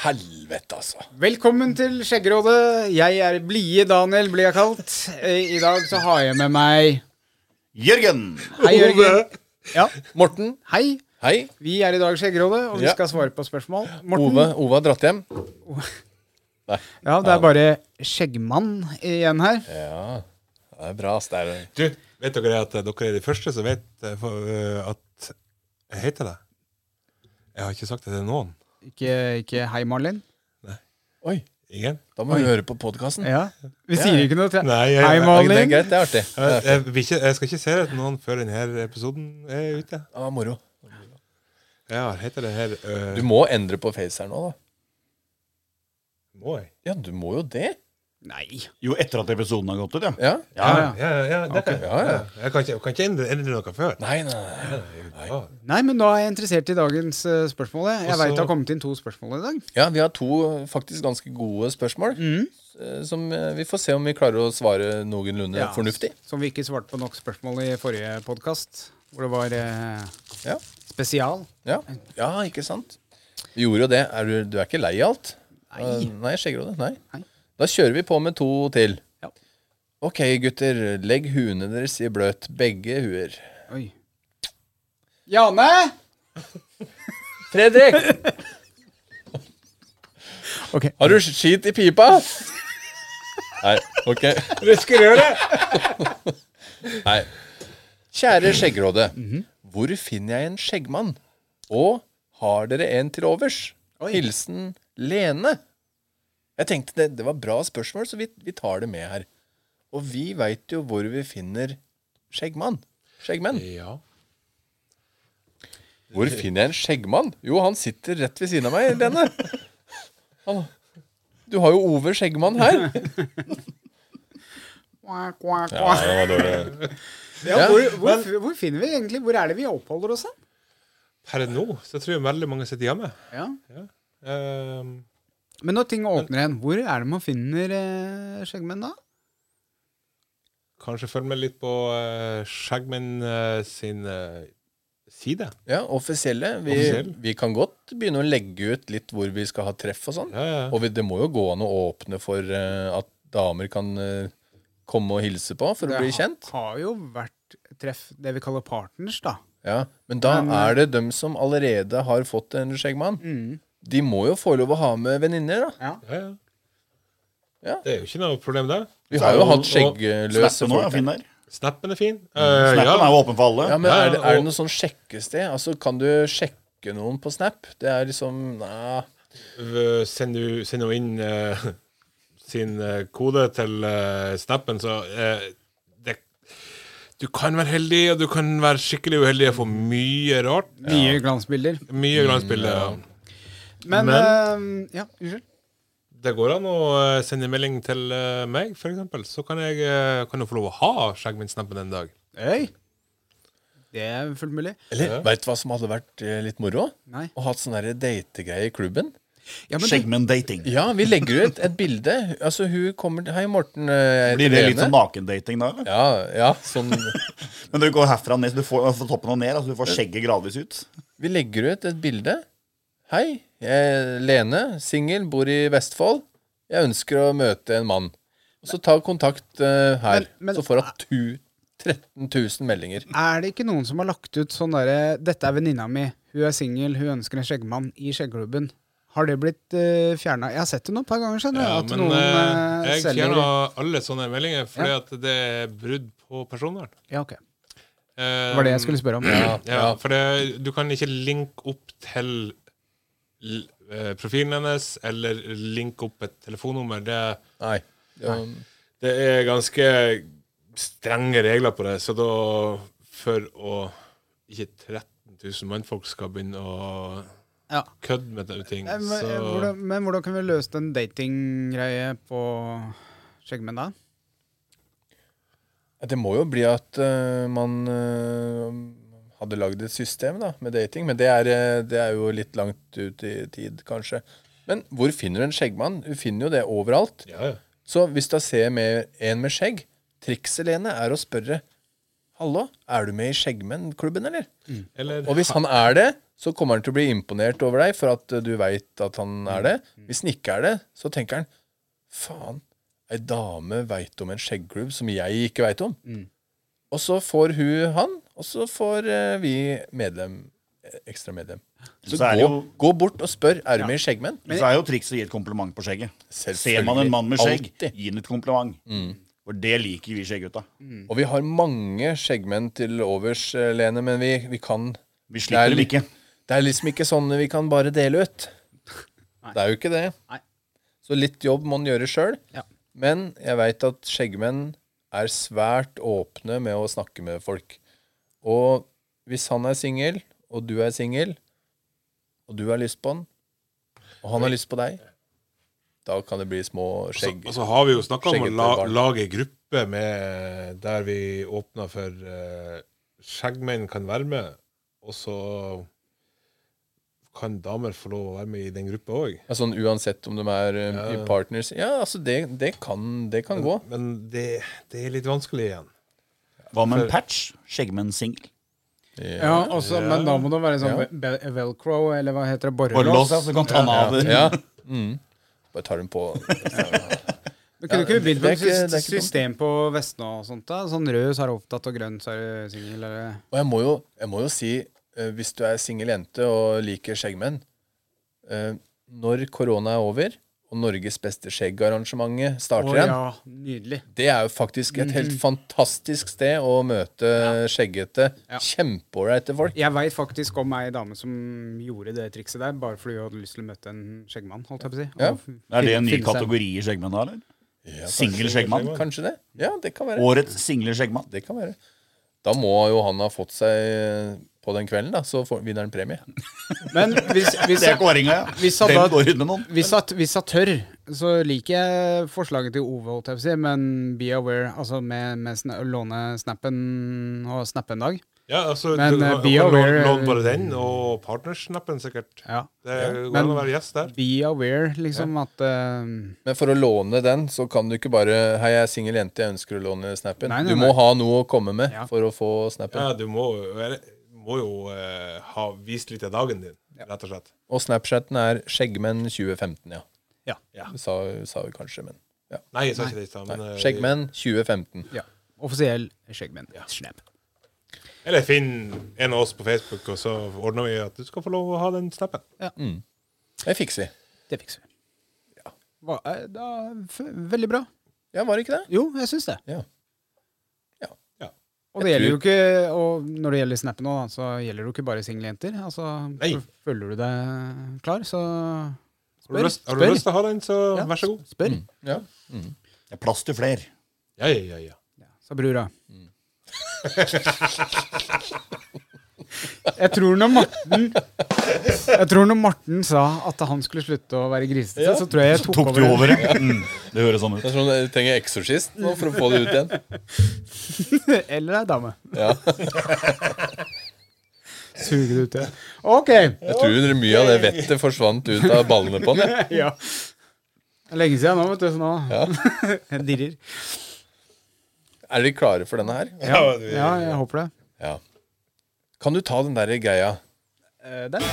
Helvete, altså.
Velkommen til Skjeggerådet. Jeg er Blide Daniel, blir jeg kalt. Eh, I dag så har jeg med meg
Jørgen!
Hei, Jørgen. Ja,
Morten,
hei.
hei.
Vi er i dag Skjeggerådet, og vi
Ja.
skal svare på spørsmål. Morten,
Ove, Ove har dratt hjem. Nei.
Ja, det er bare Skjeggmann igjen her.
Ja, det er bra. ass. Det er
Du, vet dere at dere er de første som vet eh, for, eh, at jeg heter det? Jeg har ikke sagt det til noen.
Ikke, ikke hei, Marlin.
Oi,
Ingen?
da må vi høre på podkasten.
Ja. Vi sier ikke noe til
Nei, jeg-
Hei,
jeg-
Det er
Marlin.
greit, det er artig.
Jeg, jeg, vil ikke, jeg skal ikke se det til noen før denne episoden er ute.
Det var moro.
Ja, heter det her eh,
Du må endre på face her nå, da.
Må jeg?
Ja, du må jo det.
Nei.
Jo, etter at episoden har gått ut, ja.
Ja.
Ja,
Ja, ja.
Ja, ja, det kan,
ja, ja.
Jeg kan ikke, kan ikke endre, endre noe før.
Nei, nei, nei.
Ja.
Nei, men da er jeg interessert i dagens eh, spørsmål. jeg. Jeg
Og så-
veit det har kommet inn to spørsmål i dag.
Ja, vi har to faktisk ganske gode spørsmål. eh, Som eh, vi får se om vi klarer å svare noenlunde
Ja,
fornuftig.
Som vi ikke svarte på nok spørsmål i forrige podkast, hvor det var eh,
Ja.
spesial.
Ja. ja, ikke sant? Vi gjorde jo det. Er du, du er ikke lei av alt? Nei. Nei, skjeggeråde. Nei.
Nei.
Da kjører vi på med to til.
Ja.
Ok, gutter. Legg huene deres i bløt. Begge huer.
Oi. Jane!
Fredrik!
(laughs) Ok.
Har du skit i pipa? Nei, ok.
Røskerøret!
Nei. Kjære skjeggråde. Hvor finner jeg en skjeggmann? Og har dere en til overs? Hilsen Lene. Jeg tenkte det, det var bra spørsmål, så vi, vi tar det med her. Og vi veit jo hvor vi finner skjeggmann. Skjeggmenn.
Ja.
Hvor finner jeg en skjeggmann? Jo, han sitter rett ved siden av meg, Lene. Han, du har jo Ove Skjeggmann her.
Ja,
det var dårlig. Ja,
hvor, hvor, hvor finner vi egentlig Hvor er det vi oppholder oss? hen?
Per nå så tror jeg veldig mange sitter hjemme.
Ja.
Ehm,
Men når ting åpner igjen, hvor er det man finner eh, skjeggmenn da?
kanskje følg med litt på uh, Skjeggmenn eh, sin eh, side.
Ja, offisielle. Vi,
Offisiell.
vi kan godt begynne å legge ut litt hvor vi skal ha treff og sånn.
Ja, ja.
Og vi, det må jo gå an å åpne for eh, at damer kan eh, komme og hilse på for å bli
ha-
kjent.
har jo vært treff, det vi kaller partners, da.
Ja, Men da
Men, eh, Mm.
er det dem som allerede har fått en skjeggmann. De må jo få lov å ha med venninner, da.
Ja, ja.
Ja.
Det er jo ikke noe problem, det.
Vi har jo
Og-
hatt skjeggløse
Snappen nå er
folk.
fin der.
Snappen er fin. Eh,
Snappen
ja.
er jo åpen for alle.
Ja, men
Ja,
er det, er
og-
det noe sånn sjekkested? Altså, kan du sjekke noen på Snap? Det er liksom Nei.
Eh, Send jo- send jo inn eh, (laughs) sin eh, kode til eh, snappen, så eh, det, Du kan være heldig, og du kan være skikkelig uheldig og få mye rart.
Mye glansbilder.
Mye glansbilder. ja.
Men,
Men-
eh, Ja, unnskyld.
Det går an å eh, sende melding til eh, meg, f.eks., så kan jeg eh, kan du få lov å ha skjeggminnsnappen en dag.
Øy! Det er fullt mulig.
Eller veit du hva som hadde vært eh, litt moro?
Nei.
Å ha sånn derre dategreie i klubben.
Ja, men du,
Skjeggmenn-dating.
Ja, vi legger ut et bilde. Altså, hun kommer Hei, Morten. eh, jeg heter
Blir det litt
Lene.
sånn nakendating da? eller?
Ja, ja, sånn
Men du går herfra ned, så du får, får toppen og ned. Altså du får skjegget gradvis ut.
Vi legger ut et bilde. Hei, jeg er Lene, singel, bor i Vestfold. Jeg ønsker å møte en mann. Og så ta kontakt eh, her.
Men- men-
så får hun tu- 13 000 meldinger.
er det ikke noen som har lagt ut sånn derre 'Dette er venninna mi, hun er singel, hun ønsker en skjeggmann' i skjeggklubben? Har det blitt uh, fjerna? Jeg har sett det noen par ganger, skjønner du.
Ja,
at
men
noen eh,
eh, jeg
selger
fjerna alle sånne meldinger fordi at det er brudd på personvern.
Ja, ok. Det
Eh,
var det jeg skulle spørre om.
Ja,
Ja, for det, du kan ikke linke opp til l- eh, profilen hennes eller linke opp et telefonnummer. Det,
Nei. Ja,
det er ganske strenge regler på det, så da for å ikke 13 000 mannfolk skal begynne å
Ja.
kødde med de ting,
Eh, Men, eh,
så
hvordan, men hvordan kan vi løse den datinggreie på skjeggmenn da?
Det må jo bli at eh, man eh, hadde lagd et system da, med dating, men det er, eh, det er jo litt langt ut i tid, kanskje. Men hvor finner du en skjeggmann? Du finner jo det overalt.
ja, ja.
Så hvis du ser med en med skjegg, trikset, Lene, er å spørre Hallo, er du med i Skjeggmennklubben, eller?
Eller
Og hvis han er det, så kommer han til å bli imponert over deg for at eh, du veit at han er det.
Mm.
Hvis han ikke er det, så tenker han Faen, ei dame veit om en skjeggklubb som jeg ikke veit om.
Mm.
Og så får hun han, og så får eh, vi medlem eh, ekstra medlem. Så,
Så er det
gå,
jo-
gå bort og spør er du med i Skjeggmenn.
Men så er jo trikset å gi et kompliment på skjegget. Ser man en mann med skjegg,
Selvfølgelig. Alltid.
gi han et kompliment. For det liker vi skjeggutta.
Og vi har mange skjeggmenn til overs, eh, Lene, men vi, vi kan
Vi
Det er
slipper dem
litt-
ikke.
Det er liksom ikke sånn vi kan bare dele ut. Det er jo ikke det.
Nei.
Så litt jobb må en gjøre sjøl.
Ja.
Men jeg veit at skjeggmenn er svært åpne med å snakke med folk. Og hvis han er singel, og du er singel, og du har lyst på han, og han har lyst på deg, da kan det bli små
Altså,
så,
skjegg.
og så har vi jo snakka om å
skjeggete
la,
barn.
lage ei gruppe med, der vi åpner for eh, skjeggmenn kan være med, og så kan damer få lov å være med i den gruppa òg.
Ja, Sånn uansett om de er um, i partners Ja, altså, det, det kan, det kan gå.
Men det, det er litt vanskelig igjen.
Hva med en patch? Skjeggmenn-singel.
Ja, også, Men da må det være sånn ve- ve- velcro, eller hva heter det?
Borrelås,
Borrelås.
ja, så du altså, kan ta den av. det.
Ja. Mm. Bare tar dem på
(laughs) Men kunne ikke vi begynt
det er
med
ikke- det er
et
ikke
sys-
dumt.
system på Vestna og sånt? da? Sånn rød, så er du opptatt, og grønn, så er du singel, eller
Og jeg må jo, jeg må jo si, eh, hvis du er singel jente og liker skjeggmenn eh, Når korona er over, og og Norges beste skjeggarrangementet starter
Å
igjen.
ja, Mhm. nydelig.
Det er jo faktisk et helt fantastisk sted å møte skjeggete, kjempeålreite folk.
Jeg veit faktisk om ei dame som gjorde det trikset der, bare fordi hun hadde lyst til å møte en skjeggmann. holdt jeg på å si.
Ja.
Og fin-
Er det en ny
finne seg
kategori i skjeggmenn da, eller? Singel skjeggmann?
Kanskje det? Ja, det kan være.
Årets single skjeggmann.
Det kan være. Da må jo han ha fått seg eh, på den kvelden, da, så får, vinner han premie.
Men hvis, hvis,
(laughs) Det er
jeg,
kåringa, ja.
Hvis han
Hvem
da-
går ut med noen?
hvis, jeg, hvis jeg tør, så liker jeg forslaget til Ove, holdt jeg på å si, men be aware, altså med, med sna låne snappen og snappe en dag.
Ja, altså,
Men,
du-
eh,
du-
be
du-
aware-
Lån bare den, og partnersnappen sikkert.
Ja.
Det går
Men-
an å være gjest der.
Be aware, liksom, at eh,
Men for å låne den, så kan du ikke bare 'Hei, jeg er singel jente, jeg ønsker å låne snappen'.
Nei, nei,
du må
nei.
ha noe å komme med
Ja.
for å få snappen.
Ja, du må, eller, må jo eh, ha vist litt av dagen din, rett og slett.
Og Snapchaten er 'Skjeggmenn 2015', ja.
Ja.
Ja.
Du Sa, sa vi kanskje, men ja.
Nei, jeg sa ikke det i stad. men, eh,
Skjeggmenn 2015.
ja. Offisiell skjeggmenn. Snap.
Eller finn en av oss på Facebook, og så ordner vi at du skal få lov å ha den snappen.
Det fikser vi.
Det fikser vi. Hva, eh, da, f veldig bra.
Ja, var det ikke det?
Jo, jeg syns det.
Ja.
Og det gjelder jo ikke, og når det gjelder snappen òg, så gjelder det jo ikke bare singeljenter. Altså,
Nei.
føler du deg klar, så
Har du,
Spør,
lyst, har du
spør.
lyst til å ha den, så vær så god. Mm.
spør,
Ja.
Det er plass til fler.
Ja, ja, ja, ja.
sa brura. (laughs) Jeg tror når Morten Jeg tror når Morten sa at han skulle slutte å være grisete, så tror jeg jeg tok,
Tok du
over.
over, ja? Mm, det høres sånn ut.
Det er sånn, jeg trenger eksorsist nå for å få det ut igjen.
(laughs) Eller ei dame.
Ja.
(laughs) Suger det ut, ja. OK. (laughs)
Jeg tror mye av det vettet forsvant ut av ballene på den. jeg.
Ja. Det er lenge siden nå, vet du, så nå (laughs) Jeg dirrer.
Er dere klare for denne her?
Ja, ja, jeg håper det.
Ja. Kan du ta den der greia?
Eh, Den.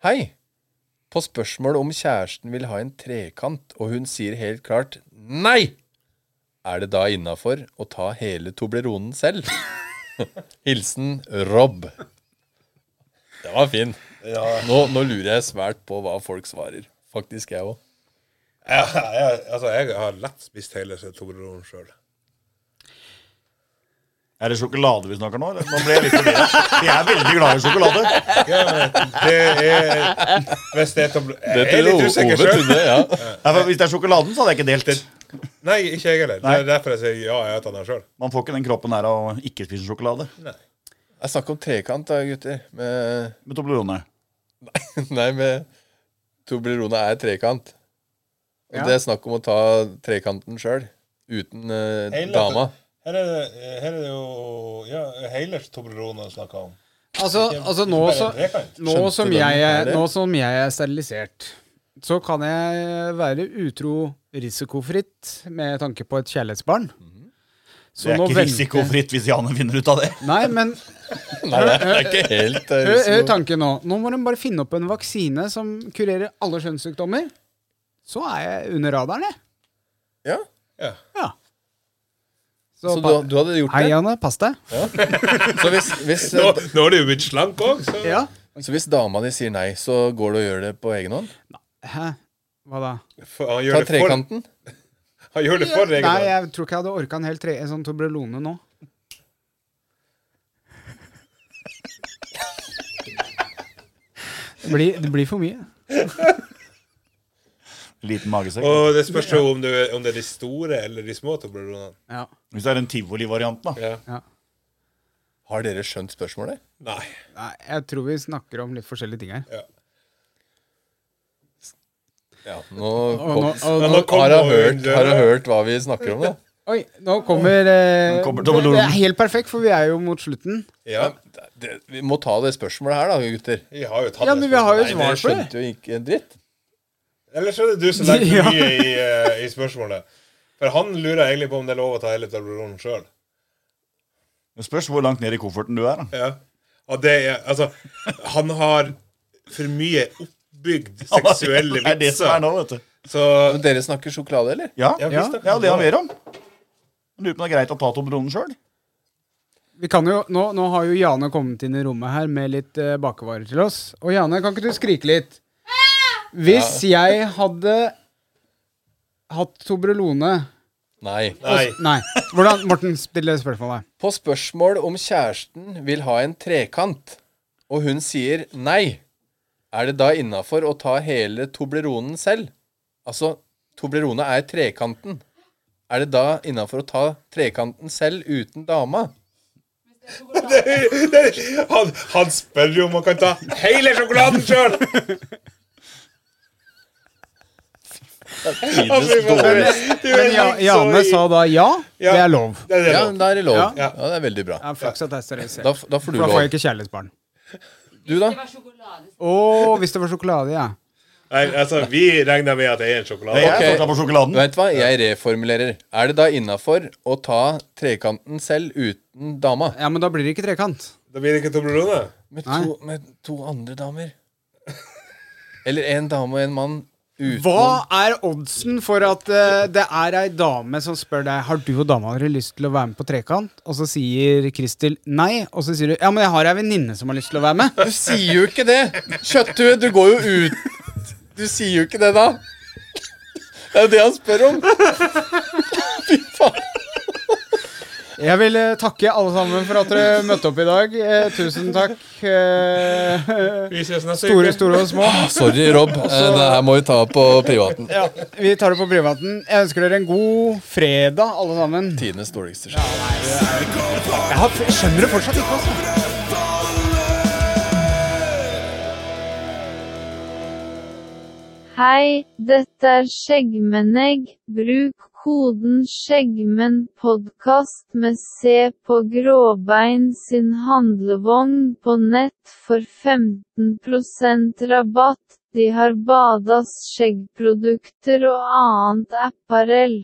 Hei! På spørsmål om kjæresten vil ha en trekant, og hun sier helt klart nei! Er det da innafor å ta hele Tobleronen selv? (laughs) Hilsen Rob. Den var fin. Nå, nå lurer jeg svært på hva folk svarer. Faktisk jeg òg.
ja, ja altså, jeg har lett spist hele Tobleronen sjøl.
Er det sjokolade vi snakker nå? eller? Nå ble jeg litt forvirret. Vi er veldig glad i sjokolade.
Ja, men det er Hvis det er Toblerone Jeg er litt usikker sjøl. (laughs)
ja.
Nei, for hvis det er sjokoladen, så hadde jeg ikke delt.
Nei, ikke jeg heller. Det er derfor jeg sier ja, jeg tar den sjøl.
Man får ikke den kroppen her av å ikke spise sjokolade.
Jeg snakker om trekant, da, gutter. Med,
Med Toblerone.
nei, med Toblerone er trekant. Og
Ja.
Det er snakk om å ta trekanten sjøl. Uten eh,
Hele-
dama.
Her er det, her er det jo ja, hele Toblerone jeg snakker om.
Altså, altså nå, så, nå,
Skjønte
som
den
jeg er,
her.
nå som jeg er sterilisert, så kan jeg være utro risikofritt med tanke på et kjærlighetsbarn. Så
Mhm. Det er
nå
ikke
venter-
risikofritt hvis Janne finner ut av (laughs) det. liksom
Nei, men
Nei, det er ikke helt eh,
hør, hør
risiko.
tanken nå. Nå må de bare finne opp en vaksine som kurerer alle kjønnssykdommer. Så er jeg under radaren, jeg.
Ja,
Ja. Så,
så du,
pa-
du hadde gjort
Hei,
det?
Janne. Pass deg.
Så hvis, hvis, eh,
Nå, nå er du jo blitt slank òg, så
Ja.
så hvis dama di sier nei, så går det og gjør det på egen hånd?
Hæ? Hva da?
For han,
Ta
gjør det for,
trekanten?
han gjør det for egen
Nei,
hånd.
jeg tror ikke jeg hadde orka en hel tre en sånn Toblerone nå. Det blir, det blir for mye.
Liten magesekk.
Og det spørs jo om, du- om det er de store eller de små Tobleronene.
Ja.
Hvis det er den tivolivarianten, da.
Ja.
Har dere skjønt spørsmålet?
Nei.
Nei, jeg tror vi snakker om litt forskjellige ting her.
Ja, nå
Og
kom,
nå, og
Ja,
nå,
nå kom
har hun
hun
hørt,
døra.
har hun hørt hva vi snakker om, da?
oi, nå kommer, eh,
Nå kommer
det,
Toblerone.
det er helt perfekt, for vi er jo mot slutten.
Ja,
Det, det, vi må ta det spørsmålet her, da, gutter.
vi har jo tatt
Ja,
det
men vi har jo
spørsmålet.
Dere
svar på det.
skjønte jo ikke en dritt.
Nei, Ellers er det
(laughs)
du som legger
Ja.
for mye i, eh, i spørsmålet. For han lurer egentlig på om det er lov å ta hele Tobleronen sjøl.
Det spørs hvor langt ned i kofferten du er. da.
Ja. Og det er Altså, han har for mye
(laughs)
oppbygd seksuelle
(laughs) Det er det som er
vitser.
nå, vet du.
Så
Men dere snakker sjokolade, eller?
Ja,
ja,
ja.
visst,
det er det han ber om. Lurer på om det er greit å ta Tobleronen sjøl.
Vi kan jo, nå, nå har jo Jane kommet inn i rommet her med litt eh, bakevarer til oss. Og Jane, kan ikke du skrike litt? Hvis jeg hadde hatt Tobrelone
Nei.
(laughs)
Nei.
Nei. Hvordan, Morten, still det spørsmålet.
På spørsmål om kjæresten vil ha en trekant, og hun sier nei, er det da innafor å ta hele Tobleronen selv? Altså, Toblerone er trekanten. Er det da innafor å ta trekanten selv uten dama?
Han, han spør jo om han kan ta hele sjokoladen sjøl!
Men ja, Jane sa da ja,
Ja.
det er lov.
Det er det
Ja,
nå.
da er det lov.
Ja.
Ja, det er veldig bra.
Ja, flaks at jeg er seriøs.
Da, f- da får du
Da får jeg
lov.
ikke kjærlighetsbarn.
Du, da?
Å, hvis det var sjokolade, ja.
Nei, altså, vi regner med at det er en sjokolade.
Det er
Ok.
jeg som på sjokoladen.
Vet du hva, jeg reformulerer. Er det da innafor å ta trekanten selv uten dama?
Ja, Men da blir det ikke trekant.
Da blir det ikke Toblerone.
Med to, med to andre damer. Eller en dame og en mann uten
Hva er oddsen for at eh, det er ei dame som spør deg Har du og dama dere lyst til å være med på trekant? Og så sier Kristel nei, og så sier du ja, men jeg har ei venninne som har lyst til å være med.
Du sier jo ikke det! Kjøtthue, du går jo ut Du sier jo ikke det, da. Det er jo det han spør om. Fy faen.
Jeg vil eh, takke alle sammen for at dere møtte opp i dag. Eh, tusen takk. eh,
Vi ses neste
store,
uke.
store og små.
Sorry, Rob. Eh, Det her må vi ta på privaten.
Ja, vi tar det på privaten. Jeg ønsker dere en god fredag, alle sammen.
Tidenes dårligste sjef.
Jeg har, skjønner det fortsatt ikke, altså.
Hei, dette er Skjeggmennegg. Bruk koden skjeggmennpodkast med C på Gråbein sin handlevogn på nett for 15 rabatt. De har Badas skjeggprodukter og annet apparell.